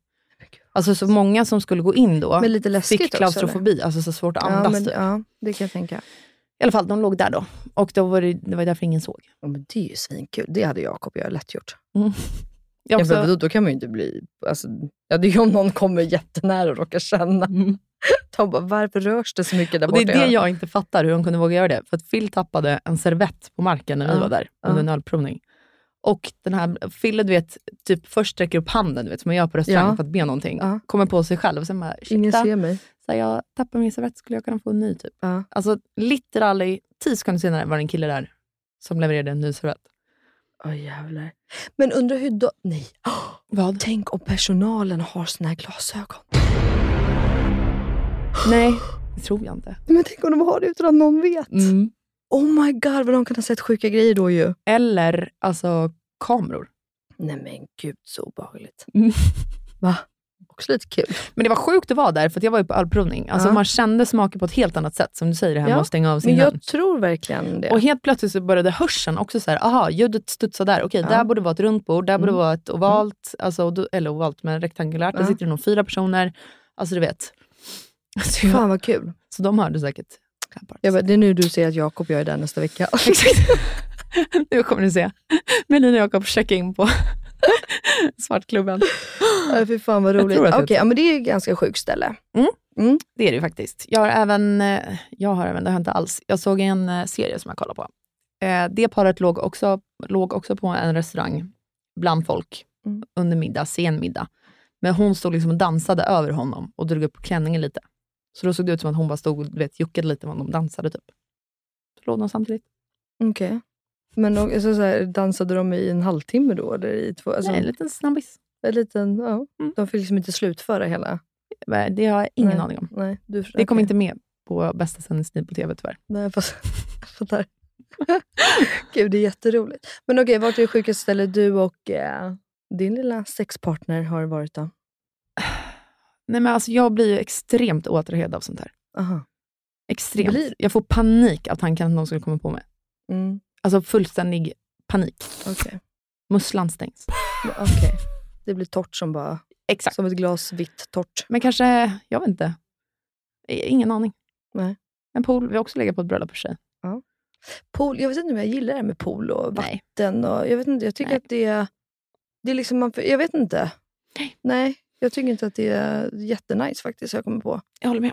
C: Alltså så många som skulle gå in då
B: Men lite läskigt
C: fick
B: också, eller?
C: klaustrofobi, alltså så svårt att andas.
B: Ja, men,
C: typ.
B: ja, det kan jag tänka.
C: I alla fall, de låg där då. Och då var det, det var därför ingen såg.
B: Ja, men det är ju svinkul. Det hade Jakob och jag lätt gjort.
C: Jag
B: Ja, men då, då kan man ju inte bli... Alltså, ja, det är ju om någon kommer jättenära och råkar känna.
C: Mm.
B: De bara, varför rörs det så mycket där
C: och det
B: borta?
C: är det jag inte fattar, hur de kunde våga göra det. För att Phil tappade en servett på marken när vi
B: Ja,
C: var där
B: ja.
C: under en ölprovning. Och den här, Phil du vet, typ först sträcker upp handen, du vet, som man gör på restaurang
B: Ja.
C: för att be någonting.
B: Ja.
C: Kommer på sig själv och sen bara,
B: Ingen
C: ursäkta,
B: ser mig.
C: så här, jag tappade min servett, skulle jag kunna få en ny typ?
B: Ja.
C: Alltså literally, tio sekunder senare var det en kille där som levererade en ny servett.
B: Åh jävlar. Men undrar hur... Då, nej. Åh,
C: Vad?
B: tänk om personalen har såna här glasögon.
C: Nej, det tror jag inte.
B: Men tänk om de har det utan att någon vet.
C: Mm.
B: Oh my god, vad de kan ha sett sjuka grejer då ju.
C: Eller alltså kameror.
B: Nej men gud, så obehagligt.
C: Mm.
B: Va? Också lite kul.
C: Men det var sjukt att vara där, för att jag var ju på ölprovning. Alltså
B: Ja.
C: Man kände smaker på ett helt annat sätt, som du säger, det här
B: Ja,
C: med att stänga av
B: Men
C: sin
B: jag
C: jag...
B: tror verkligen det.
C: Och helt plötsligt så började hörseln också så här, aha, ljudet studsar där. Okej,
B: Ja.
C: där borde vara ett runt bord, där borde
B: Mm.
C: vara ett ovalt, alltså, och då- eller ovalt men rektangulärt. Där
B: Ja.
C: sitter det nog fyra personer. Alltså du vet. Så,
B: Fan
C: jag,
B: vad kul.
C: så de hörde säkert. Clapart.
B: Jag bara, det är nu du ser att Jakob och jag är där nästa vecka.
C: Exakt. nu kommer ni se. Melina och Jakob checka in på Svartklubben.
B: Ja, Fy fan vad
C: Jag
B: roligt.
C: tror att det
B: Okej,
C: är så.
B: ja, men det är ju ett ganska sjukt ställe.
C: Det är det ju faktiskt. Jag har även, eh, jag har även, det har jag inte alls. Jag såg en eh, serie som jag kollade på. Eh, Det paret låg också, låg också på en restaurang bland folk
B: Mm.
C: under middag, sen middag. Men hon stod liksom och dansade över honom och drog upp klänningen lite.
E: Så då såg det ut som att hon bara stod och du vet, juckade lite medan de dansade. Typ. Så låg de samtidigt.
F: Okej. Men de- alltså, så här, dansade de i en halvtimme då? Eller i två, alltså,
E: Nej, en liten snabbis.
F: En liten, ja.
E: Mm.
F: De fick liksom inte slutföra hela.
E: Nej, Eh, Det har jag ingen
F: Nej.
E: aning om.
F: Nej, du,
E: Det kom inte med på bästa sändningstid på tv tyvärr.
F: Nej, fast, fattar. Gud, det är jätteroligt. Men okej, vart är det sjukaste stället du och eh, din lilla sexpartner har varit då?
E: Nej, men alltså, jag blir ju extremt återhöjd av sånt här.
F: Aha.
E: Extremt.
F: Blir-
E: Jag får panik av tanken att någon skulle komma på mig.
F: Mm,
E: Alltså fullständig panik.
F: okej.
E: Musslan stängs.
F: Men okej. Det blir torrt som bara...
E: Exakt.
F: Som ett glas vitt torrt.
E: Men kanske, jag vet inte. I- Ingen aning.
F: Nej.
E: En pool, vi har också legat på ett bröllop för sig.
F: Pool, jag vet inte om jag gillar det med pool och vatten.
E: Nej.
F: Och, jag, vet inte, jag tycker
E: Nej.
F: att det är... Det är liksom, man, jag vet inte.
E: Nej.
F: Nej, jag tycker inte att det är jättenice faktiskt, jag kommer på.
E: Jag håller med.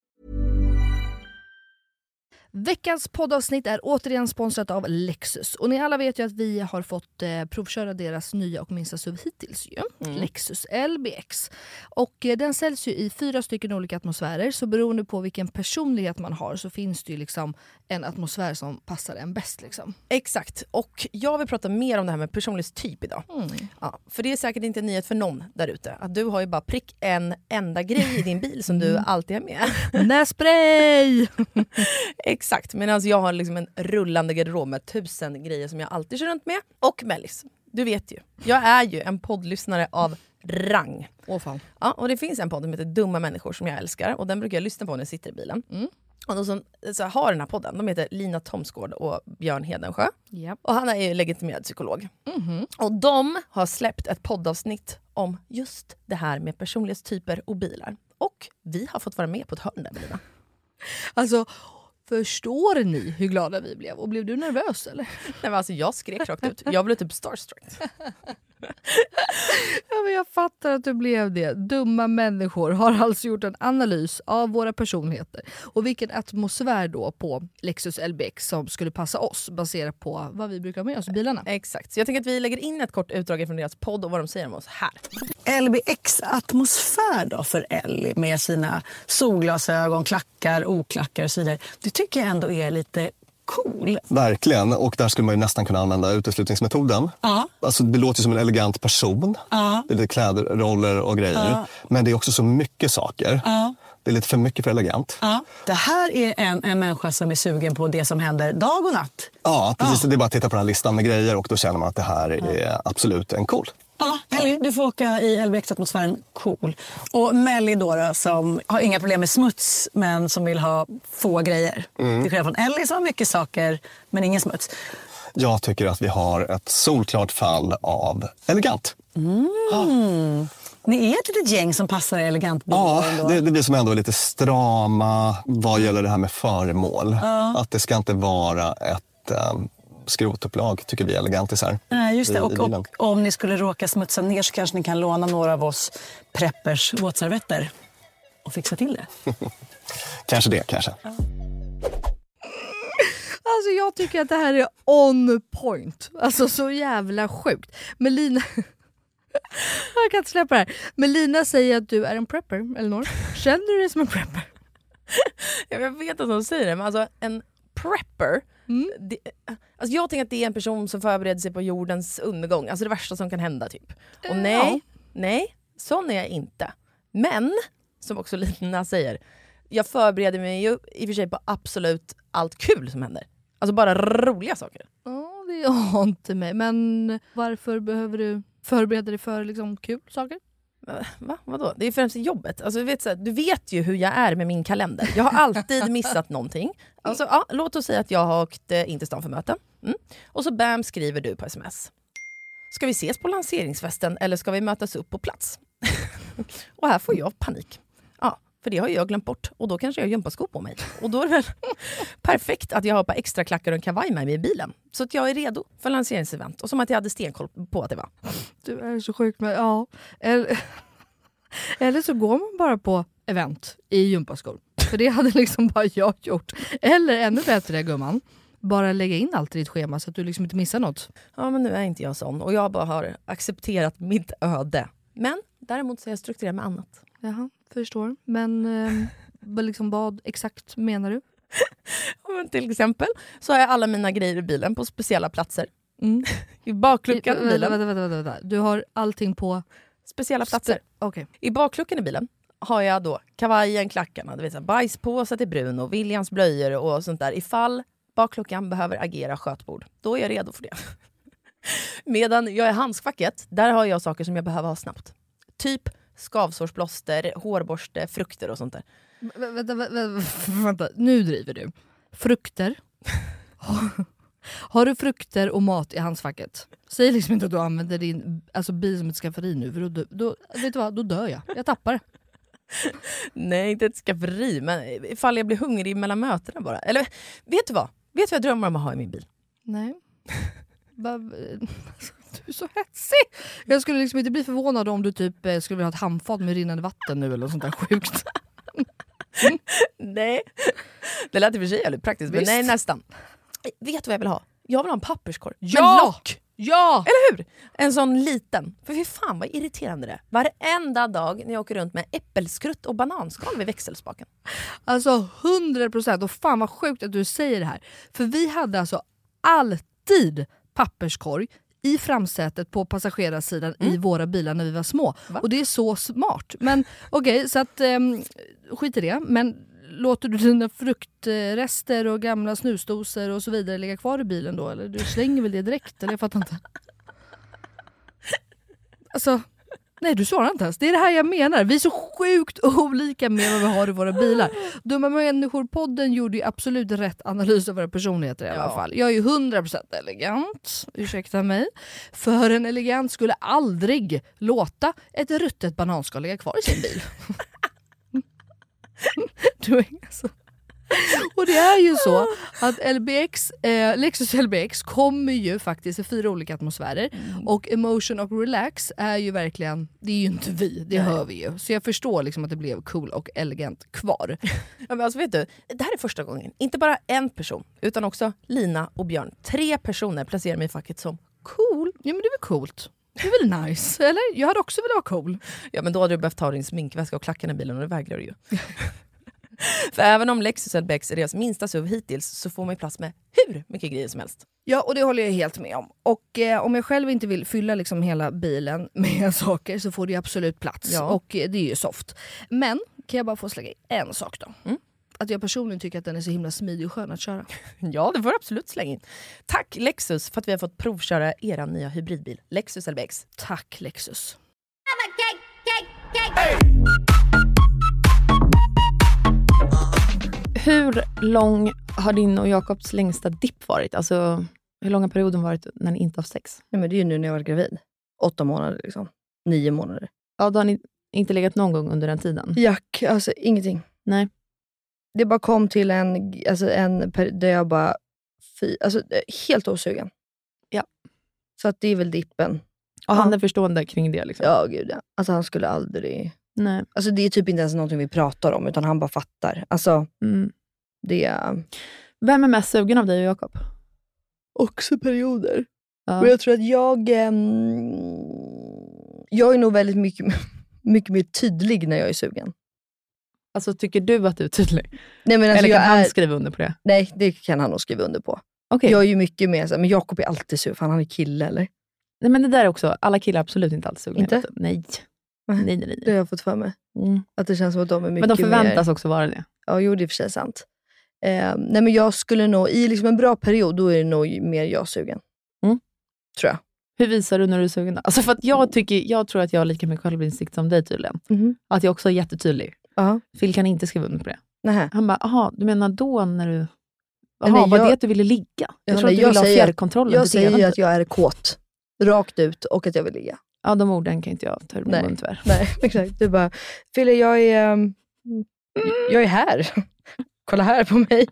B: Veckans poddavsnitt är återigen sponsrat av Lexus. Och ni alla vet ju att vi har fått eh, provköra deras nya och minsta SUV hittills ju. Lexus LBX. Och eh, den säljs ju i fyra stycken olika atmosfärer. Så beroende på vilken personlighet man har så finns det ju liksom en atmosfär som passar en bäst liksom.
G: Exakt, och jag vill prata mer om det här med personlighetstyp idag. Ja, för det är säkert inte en nyhet för någon där ute, att du har ju bara prick en enda grej i din bil som du alltid har med.
B: Nässpray!
G: Exakt, men alltså jag har liksom en rullande garderob med tusen grejer som jag alltid kör runt med. Och mellis, du vet ju, jag är ju en poddlyssnare av rang.
B: Åh fan.
G: Ja, och det finns en podd som heter Dumma människor som jag älskar och den brukar jag lyssna på när jag sitter i bilen. Och de som så här, har den här podden, de heter Lina Thomsgård och Björn Hedensjö.
B: Japp.
G: Och han är ju legitimerad psykolog. Och de har släppt ett poddavsnitt om just det här med personlighetstyper och bilar. Och vi har fått vara med på ett hörn där Lina.
B: Alltså, förstår ni hur glada vi blev? Och blev du nervös eller?
G: Nej, men alltså, jag skrek rakt ut, jag blev typ starstruck.
B: Ja, men jag fattar att du blev det. Dumma människor har alltså gjort en analys av våra personligheter och vilken atmosfär då på Lexus LBX som skulle passa oss baserat på vad vi brukar ha med oss i bilarna.
G: Exakt, så jag tänker att vi lägger in ett kort utdrag från deras podd och vad de säger om oss här.
C: LBX-atmosfär då för Ellie med sina solglasögon, klackar, oklackar och så vidare. Det tycker jag ändå är lite cool.
H: Verkligen. Och där skulle man ju nästan kunna använda uteslutningsmetoden.
C: Ja.
H: Alltså, det låter ju som en elegant person.
C: Ja.
H: Det är lite kläder, roller och grejer. Men det är också så mycket saker. Det är lite för mycket för elegant.
C: Ja. Det här är en, en människa som är sugen på det som händer dag och natt.
H: Ja, precis. Det är bara att titta på den här listan med grejer och då känner man att det här är absolut en cool.
C: Ja, Ellie, du får åka i LBX-atmosfären cool. Och Melly då, då, som har inga problem med smuts men som vill ha få grejer. Till skillnad från Ellie som har mycket saker men ingen smuts.
H: Jag tycker att vi har ett solklart fall av elegant.
C: Ni är ett litet gäng som passar elegant
H: Ja,
C: ändå.
H: det, det blir som ändå lite strama vad gäller det här med föremål. Att det ska inte vara ett um, skrotupplag, tycker vi elegantisar.
C: Nej, just
H: i-
C: det.
H: i
C: Och,
H: bilen.
C: och om ni skulle råka smutsa ner så kanske ni kan låna några av oss preppers våtservetter och fixa till det.
H: Kanske det, kanske.
B: Alltså jag tycker att det här är on point. Alltså så jävla sjukt. Men Lina, Jag kan inte släppa det här. Men Lina säger att du är en prepper, Elinor. Känner du dig som en prepper?
C: Jag vet att de säger det, men alltså en prepper.
B: Mm.
C: Det, alltså jag tänker att det är en person som förbereder sig på jordens undergång. Alltså det värsta som kan hända typ. Och
B: Eh,
C: nej,
B: ja.
C: nej, sån är jag inte. Men, som också Lina säger, jag förbereder mig ju i och för sig på absolut allt kul som händer. Alltså bara roliga saker.
B: Ja, det har inte mig. Men varför behöver du förbereda dig för liksom, kul saker?
C: Va? Vadå? Det är främst jobbet. Alltså, du, vet, så här, du vet ju hur jag är med min kalender. Jag har alltid missat någonting. Alltså, ja, låt oss säga att jag har åkt eh, in till stan för möten. Mm. Och så bam skriver du på sms. Ska vi ses på lanseringsfesten eller ska vi mötas upp på plats? och här får jag panik. Ja, för det har ju jag glömt bort. Och då kanske jag har gympaskor på mig. Och då är det väl perfekt att jag har ett par extra klackar och en kavaj med mig i bilen. Så att jag är redo för lanseringsevent. Och som att jag hade stenkoll på att det var.
B: Du är så sjuk med... Ja. Eller, eller så går man bara på event i gympaskor. För det hade liksom bara jag gjort. Eller ännu bättre gumman, bara lägga in allt i ditt schema så att du liksom inte missar något.
C: ja men nu är inte jag sån och jag bara har accepterat mitt öde. Men däremot så är jag strukturerad med annat.
B: Jaha, förstår. Men eh, vad liksom vad exakt menar du?
C: Ja, men till exempel så har jag alla mina grejer i bilen på speciella platser. I bakluckan i
B: Mm. Vänta,
C: bilen.
B: vänta, vänta, vänta. Du har allting på...
C: Speciella platser.
B: Okej.
C: I bakluckan i bilen har jag då kavajen, klackarna, du vet, så här, bajspåse till Bruno, Williams blöjor och sånt där. Ifall bakluckan behöver agera skötbord, då är jag redo för det. Medan jag är handskfacket, där har jag saker som jag behöver ha snabbt. Typ skavsårsplåster, hårborste, frukter och sånt där.
B: Vä- Vänta, vä- vä- vänta, nu driver du. Frukter. Har- Har du frukter och mat i handskfacket? Säg liksom inte att du använder din alltså, bil som ett skafferi nu, för då, dö- då, vet du vad, då dör jag. Jag tappar det.
C: Nej, inte ett skafferi, men ifall jag blir hungrig mellan mötena bara. Eller vet du vad? Vet du vad jag drömmer om att ha i min bil?
B: Nej. Bara- alltså, Du är så hetsig! Jag skulle liksom inte bli förvånad om du typ eh, skulle vilja ha ett handfat med rinnande vatten nu eller något sånt där sjukt.
C: Nej. Det lät i och för sig jävligt praktiskt,
B: Visst.
C: men nej nästan. Vet du vad jag vill ha? Jag vill ha en papperskorg.
B: Ja!
C: Med lock!
B: Ja!
C: Eller hur? En sån liten. För fy fan vad irriterande det är. Varenda dag när jag åker runt med äppelskrutt och bananskal vid växelspaken.
B: Alltså 100 procent. Och fan vad sjukt att du säger det här. För vi hade alltså alltid papperskorg i framsätet på passagerarsidan i våra bilar när vi var små. Och det är så smart. Men okej, så att ehm, skit i det. Men låter du dina fruktrester och gamla snusdosor och så vidare ligga kvar i bilen då? Eller du slänger väl det direkt? Eller jag fattar inte. Alltså, nej du svarar inte ens. Det är det här jag menar. Vi är så sjukt olika med vad vi har i våra bilar. Dumma människor-podden gjorde ju absolut rätt analys av våra personligheter i alla fall. Jag är ju 100% elegant, ursäkta mig. För en elegant skulle aldrig låta ett ruttet bananskal ligga kvar i sin bil. du är alltså. Och det är ju så att LBX, eh, Lexus LBX kommer ju faktiskt i fyra olika atmosfärer och emotion och relax är ju verkligen, det är ju inte vi, det hör vi ju. Så jag förstår liksom att det blev cool och elegant kvar.
C: Ja, men alltså vet du, det här är första gången, inte bara en person, utan också Lina och Björn. Tre personer placerar mig i facket som cool.
B: Ja men det är väl coolt? Det är väl nice? Eller? Jag hade också velat vara cool.
C: Ja men då hade du behövt ha din sminkväska och klackarna i bilen och det vägrar du ju. För även om Lexus LBX är deras minsta SUV hittills så får man ju plats med hur mycket grejer som helst.
B: Ja, och det håller jag helt med om. Och eh, om jag själv inte vill fylla liksom hela bilen med saker så får det ju absolut plats.
C: Ja.
B: Och eh, det är ju soft. Men kan jag bara få slänga in en sak då?
I: Mm.
B: Att jag personligen tycker att den är så himla smidig och skön att köra.
C: Ja, det får du absolut slänga in. Tack Lexus för att vi har fått provköra era nya hybridbil, Lexus LBX.
B: Tack Lexus.
A: Hur lång har din och Jakobs längsta dipp varit? Alltså, hur lång har perioden varit när ni inte har sex?
I: Nej, men det är ju nu när jag var gravid. Åtta månader liksom. Nio månader.
A: Ja, då har ni inte legat någon gång under den
C: Mm,
A: tiden?
I: Jack, alltså ingenting.
A: Nej.
I: Det bara kom till en, alltså en per- där jag bara, fy, alltså
B: eh,
I: helt osugen.
A: Ja.
I: Så att det är väl dippen.
A: Och han är förstående kring det?
B: Typ.
A: Liksom.
I: Ja, gud ja. Alltså han skulle aldrig...
A: Nej.
I: Alltså det är typ inte ens någonting vi pratar om, utan han bara fattar. Alltså
A: Mm.
I: det är...
A: Vem är mest sugen av dig och Jakob?
I: Också perioder.
A: Ja.
I: Men jag tror att jag... ehm,
B: Jag är nog väldigt mycket, mycket mer tydlig när jag är sugen.
C: Alltså tycker du att du är tydlig?
B: Nej, men alltså,
C: Eller
B: jag
C: kan han
B: är,
C: skriva under på det?
B: Nej, det kan han nog skriva under på.
C: Okej.
B: Jag är ju mycket mer såhär, men Jakob är alltid sur, fan han är kille eller?
C: Nej men det där också, alla killar är absolut inte alls sugna.
B: Inte?
C: hela tiden. Nej. Nej, nej, nej.
B: Det har jag fått för mig.
C: Mm.
B: Att det känns som att de är mycket
C: Men de förväntas
B: mer...
C: också vara det.
B: Ja, jo det är i och för sig sant. Eh, nej men jag skulle nog, i liksom en bra period, då är det nog mer jag sugen.
C: Mm.
B: Tror jag.
C: Hur visar du när du är sugen? då? Alltså för att jag, tycker, jag tror att jag har lika mycket självinsikt som dig tydligen.
I: Mm-hmm.
B: Mhm.
C: Att jag också är jättetydlig.
B: Ja.
C: Phil kan inte skriva under på det.
B: Nähä.
C: Han bara, jaha, du menar då när du...
B: Nej,
C: Jaha, var
B: jag-
C: det att du ville ligga? Jag
B: Ja,
C: tror
B: nej,
C: att du
B: jag
C: ville ha
B: säger att-
C: fjärrkontrollen.
B: Jag
C: på TV:n,
B: säger ju att
C: typ.
B: jag är kåt. Rakt ut och att jag vill ligga.
C: Ja, de orden kan inte jag ta ur min
B: Nej.
C: mun tyvärr.
B: Nej, exakt. Du bara, Fille jag är, ehm,
C: Mm.
B: jag är här. Kolla här på mig.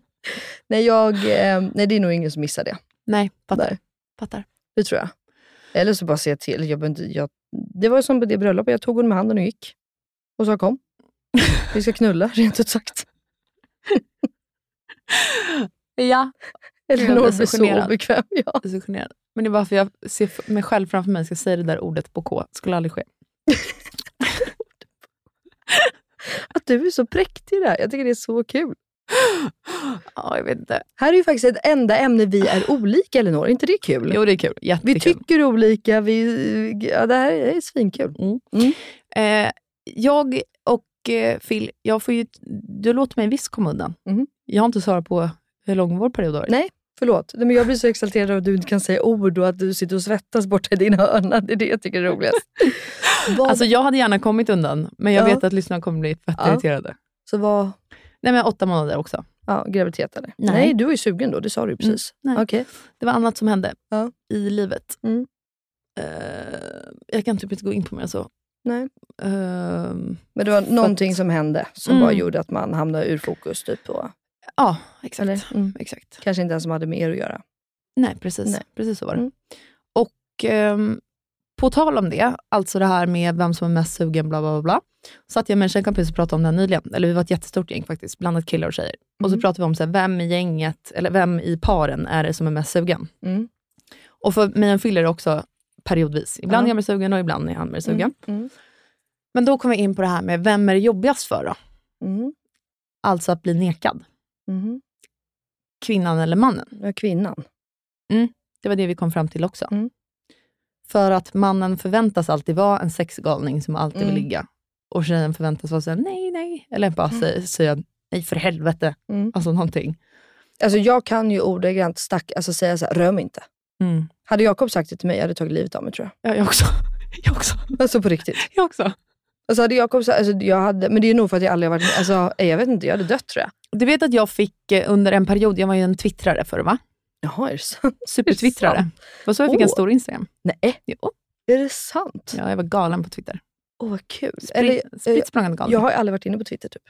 B: Nej, jag, ehm, nej, det är nog ingen som missar det.
C: Nej, fattar.
B: Nej.
C: fattar.
B: Det tror jag. Eller så bara säga till. Jag, behöver inte- jag, det var som på det bröllopet, jag tog honom med handen och gick. Och sa kom. Vi ska knulla, rent ut sagt.
C: Ja, Jag
B: Elinor
C: blir
B: blir
C: så
B: så
C: generad.
B: obekväm. Ja.
C: jag är så generad. Men det är bara för jag ser f- mig själv framför mig ska säga det där ordet på K. Det skulle aldrig ske.
B: Att du är så präktig där. Jag tycker det är så kul.
C: Ja, jag vet inte.
B: Här är ju faktiskt ett enda ämne vi är olika, Elinor. Är inte det kul?
C: Jo, det är kul. Jättekul.
B: Vi tycker olika. Vi, ja, det här är svinkul.
C: Eh, jag och eh, Phil, jag får ju, du låter mig visst komma undan.
B: Mhm.
C: Jag har inte svarat på hur lång vår period har varit.
B: Nej, förlåt. Nej, men jag blir så exalterad av att du inte kan säga ord och att du sitter och svettas borta i din hörna. Det är det jag tycker är roligast. Vad-
C: Alltså, jag hade gärna kommit undan, men jag
B: Ja.
C: vet att lyssnarna kommer bli fett
B: Ja.
C: irriterade.
B: så vad...
C: Nej, men åtta månader också.
B: Ja, graviditet eller? Nej.
C: Nej.
B: du är ju sugen då. Det sa du ju precis.
C: Mm, nej.
B: Okej.
C: Det var annat som hände
B: Ja.
C: i livet.
B: Mm.
C: Eh, jag kan typ inte gå in på mer än så.
B: Nej.
C: Ehm,
B: Men det var
C: För
B: någonting
C: att-
B: som hände som
C: Mm.
B: bara gjorde att man hamnade ur fokus. Typ, och,
C: Ja, exakt.
B: eller? Mm.
C: exakt.
B: Kanske inte ens som hade med er att göra.
C: Nej, precis.
B: Nej.
C: Precis så var det.
B: Mm.
C: Och ehm, på tal om det, alltså det här med vem som är mest sugen, bla bla bla. bla satt jag med en tjejkompis och pratade om det här nyligen. Eller vi var ett jättestort gäng faktiskt, blandat killar och tjejer. Och så
B: Mhm.
C: pratade vi om så här, vem i gänget, eller vem i paren är det som är mest sugen?
B: Mm.
C: Och för mig och Phil är det också periodvis. Ibland
B: Ja.
C: är jag mer sugen och ibland är han mer sugen.
B: Mm.
C: Men då kom vi in på det här med, vem är det jobbigast för då?
B: Mm.
C: Alltså att bli nekad.
B: Mm.
C: Kvinnan eller mannen.
B: Ja, kvinnan.
C: Det var det vi kom fram till också.
B: Mm.
C: För att mannen förväntas alltid vara en sexgalning som alltid
B: Mm.
C: vill ligga. Och tjejen förväntas vara såhär, nej, nej. Eller bara säga, säga, nej för helvete.
B: Mm.
C: Alltså någonting.
B: Alltså, jag kan ju ordagrant stack, alltså, säga så här, rör mig inte.
C: Mm.
B: Hade Jakob sagt det till mig, jag hade tagit livet av mig tror
C: Ja, jag också. Jag också.
B: jag. Alltså på riktigt.
C: Jag också.
B: Alltså, hade Jakob sagt, alltså, jag hade, men det är nog för att jag aldrig har varit alltså, eh, jag vet inte, jag hade dött tror jag.
C: Du vet att jag fick eh, under en period, jag var ju en twittrare förr va?
B: Jaha, är det sant? Är det
C: Supertwittrare. Det var så jag fick en
B: Åh.
C: stor Instagram.
B: Nej,
C: Jo.
B: är det sant?
C: Ja, jag var galen på Twitter.
B: Åh, vad kul. Eller, eh,
C: Sprit, spritt språngande galen.
B: jag har aldrig varit inne på Twitter typ.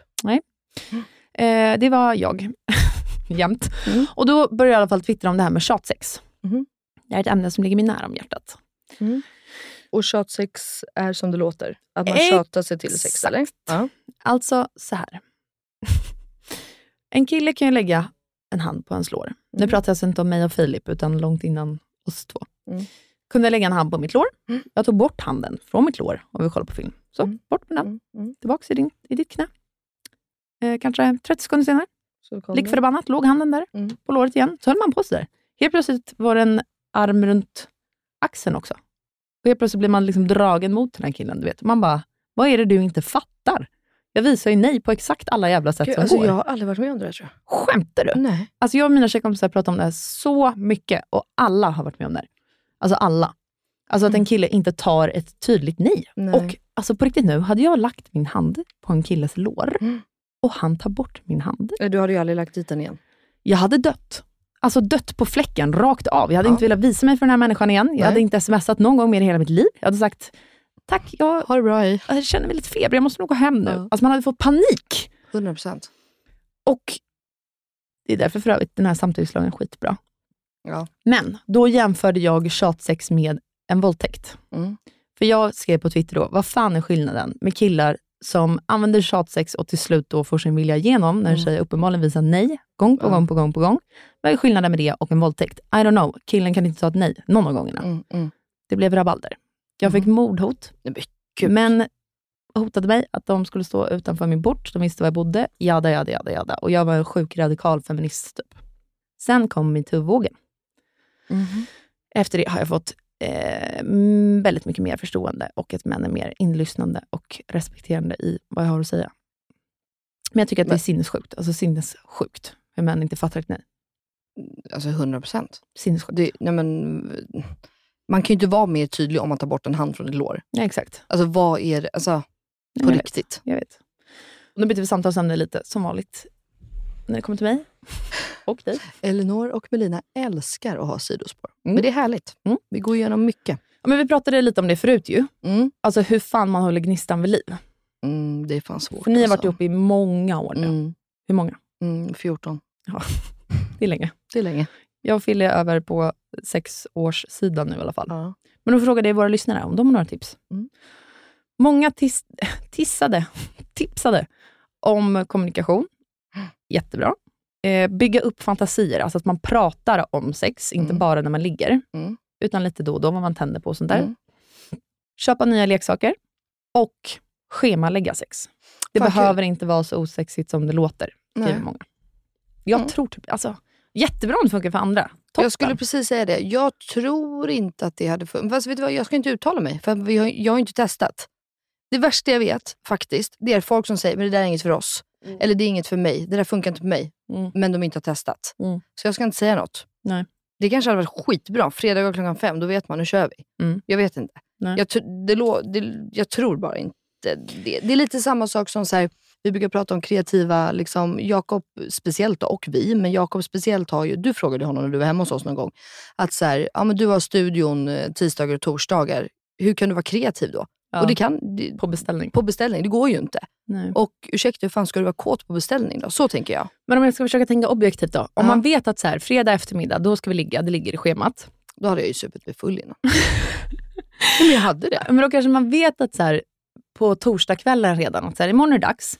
C: Eh, det var jag. Jämt.
B: Mm.
C: Och då började jag i alla fall twittra om det här med tjatsex.
B: Mhm.
C: Det är ett ämne som ligger mig nära om hjärtat.
B: Och tjatsex är som det låter? Att man
C: Exakt.
B: tjatar sig till sex, eller? Ja.
C: Alltså så här. en kille kan ju lägga en hand på ens lår. Nu
B: Mm.
C: pratar jag alltså inte om mig och Filip, utan långt innan oss två.
B: Mm.
C: Kunde lägga en hand på mitt lår. Jag tog bort handen från mitt lår om vi kollar på film. Så,
B: Mm.
C: bort med den.
B: Mm, mm.
C: Tillbaka i, din, i ditt knä. Eh, kanske 30 sekunder senare.
B: Så kom
C: Lik
B: det.
C: förbannat låg handen där
B: Mm.
C: på låret igen. Så höll man på sådär. Helt plötsligt var det en arm runt axeln också. Och helt plötsligt blir man liksom dragen mot den här killen. Du vet. Man bara, vad är det du inte fattar? Jag visar ju nej på exakt alla jävla sätt
B: Gud,
C: som
B: alltså,
C: går.
B: jag har aldrig varit med om det där tror jag.
C: Skämtar du?
B: Nej.
C: Alltså jag och mina tjejkompisar pratar om det här så mycket och alla har varit med om det här. Alltså alla. Alltså att en kille inte tar ett tydligt nej.
B: Mm. Nej.
C: Och alltså på riktigt nu, hade jag lagt min hand på en killes lår
B: Mm.
C: och han tar bort min hand,
B: Nej, Du hade ju aldrig lagt dit den igen.
C: jag hade dött. Alltså dött på fläcken, rakt av. Jag hade inte velat visa mig för den här människan igen. Jag hade inte smsat någon gång mer i hela mitt liv. Jag hade sagt, tack, jag,
B: Ha det bra i.
C: jag känner mig lite feber, jag måste nog gå hem nu.
B: Ja.
C: Alltså man hade fått panik.
B: 100 procent.
C: Och det är därför för övrigt den här samtyckeslagen är skitbra.
B: Ja.
C: Men då jämförde jag tjatsex med en våldtäkt.
B: Mm.
C: För jag skrev på Twitter då, vad fan är skillnaden med killar som använder tjatsex och till slut då får sin vilja igenom, när en
B: Mm.
C: tjej uppenbarligen visar nej, gång på
B: Ja.
C: gång på gång på gång. Vad är skillnaden med det och en våldtäkt? I don't know. Killen kan inte ta ett nej någon av gångerna.
B: Mm, mm.
C: Det blev rabalder. Jag fick mordhot. Men hotade mig att de skulle stå utanför min port. De visste var jag bodde. Jada, jada, jada, jada. Och jag var en sjuk radikal feminist. Typ. Sen kom metoo-vågen.
B: Mhm.
C: Efter det har jag fått eh, mm, väldigt mycket mer förstående och att män är mer inlyssnande och respekterande i vad jag har att säga. Men jag tycker att det är sinnessjukt. Alltså sinnessjukt hur män inte fattar ett nej.
B: Alltså 100 procent.
C: Sinnessjukt.
B: nej men, man kan ju inte vara mer tydlig om man tar bort en hand från ett lår.
C: Ja, exakt.
B: Alltså vad är det? Alltså,
C: Nej,
B: på
C: jag vet.
B: riktigt.
C: Jag vet. Och nu byter vi samtalsämne lite, som vanligt, när det kommer till mig och dig.
B: Elinor och Melina älskar att ha sidospår.
C: Mm.
B: Men det är härligt.
C: Mm.
B: Vi går igenom mycket.
C: Ja, men vi pratade lite om det förut ju. Alltså hur fan man håller gnistan vid liv.
B: Mm, det är fan svårt.
C: För ni har varit
B: alltså.
C: ihop i många år nu.
B: Mm.
C: Hur många?
B: Mm, 14.
C: Ja, det är länge.
B: Det är länge.
C: Jag fyller över på sex års sidan nu i alla fall.
B: Ja.
C: Men då frågade jag våra lyssnare om de har några tips.
B: Mm.
C: Många tis, tissade, tipsade om kommunikation. Jättebra. Eh, bygga upp fantasier, alltså att man pratar om sex, inte bara när man ligger,
B: Mm.
C: utan lite då och då, vad man tänder på och sånt där.
B: Mm.
C: Köpa nya leksaker och schemalägga sex. Det
B: Fan,
C: behöver inte vara så osexigt som det låter, skriver
B: Nej. Mm.
C: många. Jag tror typ, alltså, jättebra om det funkar för andra. Toppen.
B: Jag skulle precis säga det. Jag tror inte att det hade funnits. Fast vet du vad, jag ska inte uttala mig, för vi har, jag har inte testat. Det värsta jag vet, faktiskt, det är folk som säger men det där är inget för oss. Eller det är inget för mig, det där funkar inte för mig.
C: Mm.
B: Men de inte har testat.
C: Mm.
B: Så jag ska inte säga något.
C: Nej.
B: Det kanske hade varit skitbra. Fredag klockan fem, då vet man, nu kör vi.
C: Mm.
B: Jag vet inte.
C: Nej.
B: Jag, tr- det lå- det, jag tror bara inte det. Det är lite samma sak som så här, vi brukar prata om kreativa, liksom, Jakob speciellt då, och vi, men Jakob speciellt har ju, du frågade honom när du var hemma hos oss någon gång, att så här, ja, men du har studion eh, tisdagar och torsdagar, hur kan du vara kreativ då?
C: Ja.
B: Och det kan, det,
C: På beställning.
B: på beställning, det går ju inte.
C: Nej.
B: Och ursäkta, hur fan ska du vara kåt på beställning då? Så tänker jag.
C: Men om jag ska försöka tänka objektivt då. Om
B: Ja.
C: man vet att så här, fredag eftermiddag, då ska vi ligga, det ligger i schemat.
B: Då hade jag ju supit mig full innan. Nej, men jag hade det.
C: Men då kanske man vet att så här, på torsdagskvällen redan, att så här, imorgon är det dags.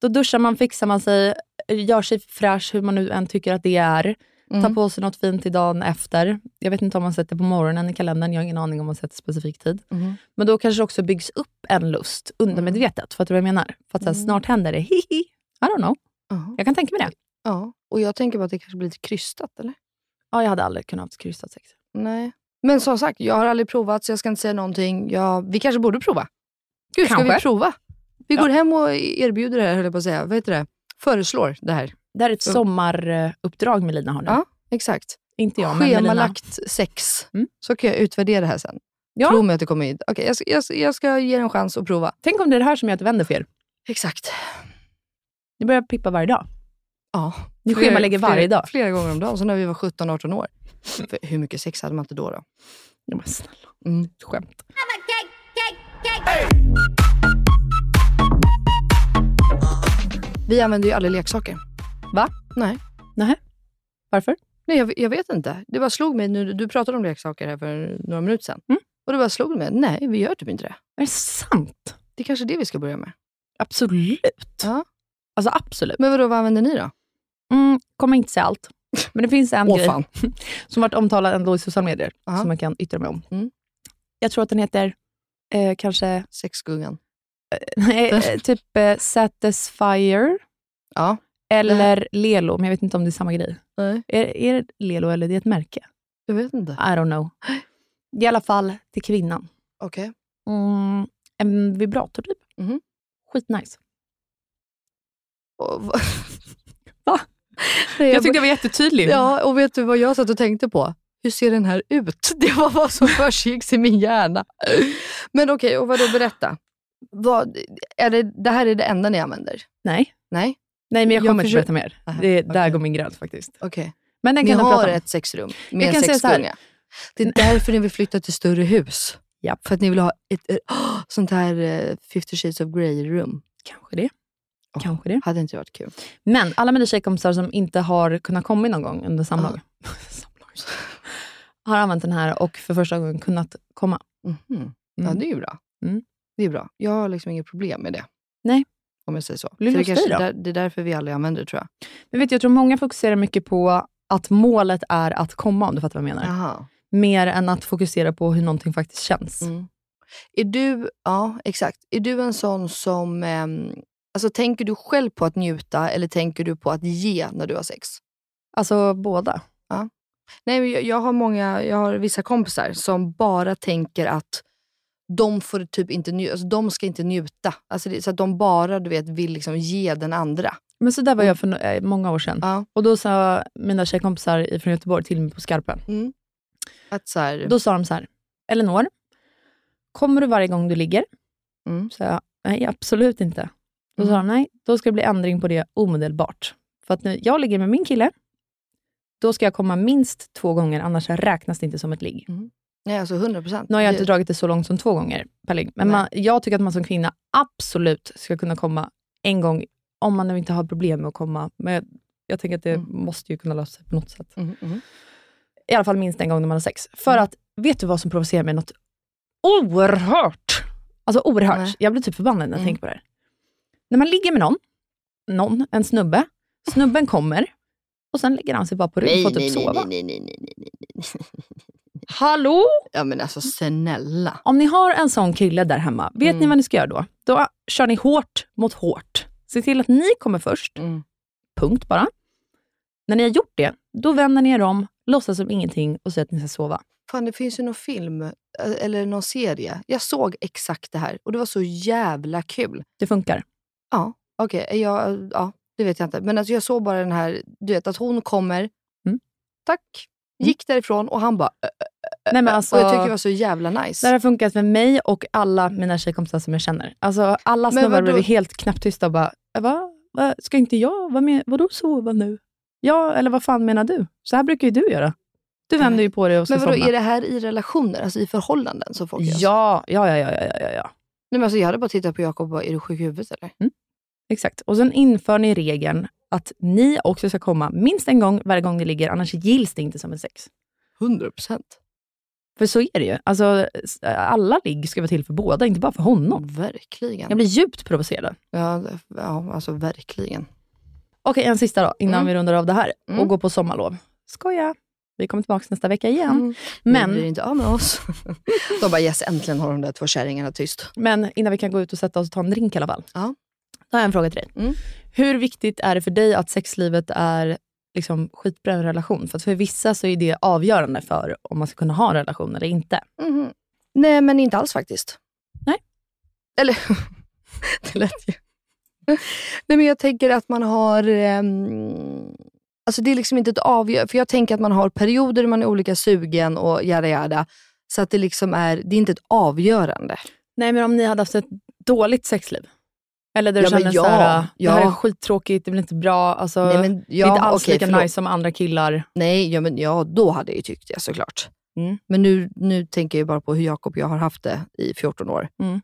C: Då duschar man, fixar man sig, gör sig fräsch hur man nu än tycker att det är.
B: Mm.
C: Tar på sig något fint till dagen efter. Jag vet inte om man sätter på morgonen i kalendern, jag har ingen aning om man sätter specifik tid. Men då kanske det också byggs upp en lust undermedvetet. Fattar du vad jag menar? För att så här,
B: Mm.
C: snart händer det, hihi. I don't know.
B: Ja.
C: Jag kan tänka mig det.
B: ja, och jag tänker bara att det kanske blir lite krystat, eller?
C: Ja, jag hade aldrig kunnat ha haft krystat sex.
B: Nej. Men som sagt, jag har aldrig provat så jag ska inte säga någonting. Ja, vi kanske borde prova. Gud, ska
C: Kanske.
B: vi prova? Vi går hem och erbjuder det här, höll jag på att säga. Vad heter det? Föreslår det här.
C: Det här är ett
B: Mm.
C: sommaruppdrag Melina har nu.
B: Ja, exakt.
C: Inte jag, men Melina.
B: Schemalagt sex.
C: Mm.
B: Så kan jag utvärdera det här sen.
C: Ja.
B: Tro mig att det kommer in. Okej, jag, ska- jag, ska- jag ska ge det en chans att prova.
C: Tänk om det är det här som gör att det vänder för er.
B: Exakt.
C: Ni börjar pippa varje dag.
B: Ja.
C: Ni
B: Flera-
C: schemalägger varje
B: flera,
C: dag.
B: Flera gånger om dagen, så när vi var 17-18 år. För hur mycket sex hade man inte då? då?
C: Ja, men snälla,
B: Mm.
C: ett skämt.
B: Vi använde ju aldrig leksaker.
C: Va?
B: Nej.
C: Nähä. Varför?
B: Nej, jag, jag vet inte. Det bara slog mig. Nu, du pratade om leksaker här för några minuter sedan.
C: Mm.
B: Och det bara slog mig. Nej, vi gör typ inte det.
C: Är det sant?
B: Det är kanske det vi ska börja med.
C: Absolut.
B: Ja.
C: Alltså absolut.
B: Men vadå, vad använder ni då?
C: Mm, kommer inte säga allt. Men det finns en
B: Åh,
C: grej
B: fan.
C: som varit omtalad ändå i sociala medier,
B: Ja.
C: som jag kan yttra mig om.
B: Mm.
C: Jag tror att den heter eh, kanske
B: Sexgungan.
C: nej, eh, typ eh, Satisfyer
B: Ja.
C: eller Lelo, men jag vet inte om det är samma grej.
B: Nej,
C: Är, är det Lelo eller är det ett märke?
B: jag vet inte.
C: I don't know. I alla fall till kvinnan.
B: Okej.
C: Mm, en vibrator typ.
B: Mhm.
C: Skitnice.
B: Och vad-
C: Va?
B: Nej,
C: Jag,
B: jag
C: tyckte jag var jättetydlig.
B: Ja, och vet du vad jag satt och tänkte på? Hur ser den här ut? Det var vad som försiggicks i min hjärna. Men okej, och vadå, berätta. Vad, är det, det här är det enda ni använder?
C: Nej.
B: Nej?
C: Nej, men jag
B: Jag
C: kommer
B: försöker-
C: inte berätta mer.
B: Aha,
C: det, där
B: okej.
C: går min gräns faktiskt.
B: Okej.
C: Men den
B: Ni
C: kan jag
B: har
C: prata om.
B: ett sexrum
C: Jag
B: med en
C: kan säga så här.
B: sexgunga. Det är därför ni vill flytta till större hus.
C: Japp.
B: För att ni vill ha ett eh, åh, sånt här eh, 50 shades of grey-rum.
C: Kanske det. Kanske det.
B: Hade inte varit kul.
C: Men alla mina tjejkompisar som inte har kunnat komma någon gång under samlag, samlag har använt den här och för första gången kunnat komma.
B: Mhm. Ja,
C: Mm.
B: det är ju bra.
C: Mm.
B: Det är bra. Jag har liksom inget problem med det.
C: Nej.
B: Om jag säger så.
C: Lycka
B: Så det,
C: hos
B: kanske,
C: dig då.
B: där, det är därför vi aldrig använder det, tror jag.
C: Men vet, du, jag tror många fokuserar mycket på att målet är att komma, om du fattar vad jag menar.
B: Jaha.
C: Mer än att fokusera på hur någonting faktiskt känns.
B: Mm. Är du, ja, exakt. Är du en sån som... ehm, alltså, tänker du själv på att njuta eller tänker du på att ge när du har sex?
C: Alltså båda.
B: Ja. Nej, men jag, jag, har många, jag har vissa kompisar som bara tänker att de, får typ inte nju- alltså, de ska inte njuta. Alltså, det, så att de bara du vet, vill liksom ge den andra.
C: Men så där var jag för no- eh, många år sedan. Och då sa mina tjejkompisar från Göteborg till mig på skarpen.
B: Att så här,
C: Då sa de så här, Elinor, kommer du varje gång du ligger? Så jag, nej absolut inte. Då sa de, nej, då ska det bli ändring på det omedelbart. För att när jag ligger med min kille, då ska jag komma minst två gånger, annars räknas det inte som ett ligg.
B: nej, alltså 100 procent.
C: Nu har jag inte dragit det så långt som två gånger per ligg, men man, jag tycker att man som kvinna absolut ska kunna komma en gång, om man nu inte har problem med att komma. Men jag, jag tänker att det
B: Mm.
C: måste ju kunna lösa sig på något sätt. I alla fall minst en gång när man har sex. För
B: Mm.
C: att, vet du vad som provocerar mig något oerhört? Alltså oerhört. Jag blir typ förbannad
B: Mm.
C: när jag tänker på det här. När man ligger med någon, någon, en snubbe, snubben kommer och sen lägger han sig bara på rygg för att typ sova.
B: nej, nej, nej, nej, nej, nej.
C: Hallå?
B: Ja, men alltså snälla.
C: Om ni har en sån kille där hemma, vet
B: Mm.
C: ni vad ni ska göra då? Då kör ni hårt mot hårt. Se till att ni kommer först.
B: Mm.
C: Punkt bara. När ni har gjort det, då vänder ni er om, låtsas som ingenting och säger att ni ska sova.
B: Fan, det finns ju någon film eh, eller någon serie. Jag såg exakt det här och det var så jävla kul.
C: Det funkar.
B: Ja, okej. Jag- Ja, det vet jag inte. Men alltså, jag såg bara den här, du vet att hon kommer,
C: Mm.
B: tack, gick därifrån och han bara... "Ö, ö, ö,
C: Nej, Mm. men
B: ö."
C: alltså-
B: och jag tycker det var så jävla
C: Det
B: nice.
C: här har funkat med mig och alla mina tjejkompisar som jag känner. Alltså, alla
B: Men
C: snubbar
B: vadå?
C: blev helt knäpptysta och bara, "Äh, Va? Va? Ska inte jag? Vad med, vadå sova nu? Ja, eller vad fan menar du? Så här brukar ju du göra. Du vänder ju på dig och ska
B: men vadå,
C: somna.
B: är det här i relationer, alltså i förhållanden som folk gör? så?
C: Ja, ja, ja, ja, ja, ja, ja.
B: Nej, men alltså, jag hade bara tittat på Jakob och bara, är du sjuk i huvudet eller?
C: Exakt. Och sen inför ni regeln att ni också ska komma minst en gång varje gång ni ligger, annars gills det inte som en sex.
B: 100 procent.
C: För så är det ju. Alltså, s- alla ligg ska vara till för båda, inte bara för honom.
B: Verkligen.
C: Jag blir djupt provocerad.
B: Ja, det- ja, alltså verkligen.
C: Okej, en sista då, innan
B: Mm.
C: vi rundar av det här
B: Mm.
C: och går på sommarlov. Skoja! Vi kommer tillbaka nästa vecka igen.
B: Mm. Men...
C: Men,
B: Ni blir inte av med oss. De bara, yes, äntligen har de där två kärringarna tyst.
C: men innan vi kan gå ut och sätta oss och ta en drink i alla fall.
B: Ja.
C: Då har jag en fråga till dig. Hur viktigt är det för dig att sexlivet är liksom skitbra i en relation? För att för vissa så är det avgörande för om man ska kunna ha en relation eller inte.
B: Mhm. Nej, men inte alls faktiskt.
C: Nej.
B: Eller, det lät ju... Nej, men jag tänker att man har... ehm, alltså det är liksom inte ett avgörande... För jag tänker att man har perioder, man är olika sugen och yada yada. Så att det liksom är... Det är inte ett avgörande.
C: Nej, men om ni hade haft ett dåligt sexliv? Eller där du
B: Ja, men
C: känner
B: ja,
C: såhär, det här är
B: ja.
C: skittråkigt, det blir inte bra, alltså,
B: Nej, men
C: det är
B: ja,
C: inte alls
B: okej,
C: lika
B: förlåt.
C: nice som andra killar.
B: Nej, ja, men ja, då hade jag ju tyckt det såklart.
C: Mm.
B: Men nu, nu tänker jag ju bara på hur Jakob och jag har haft det i 14 år.
C: Mm.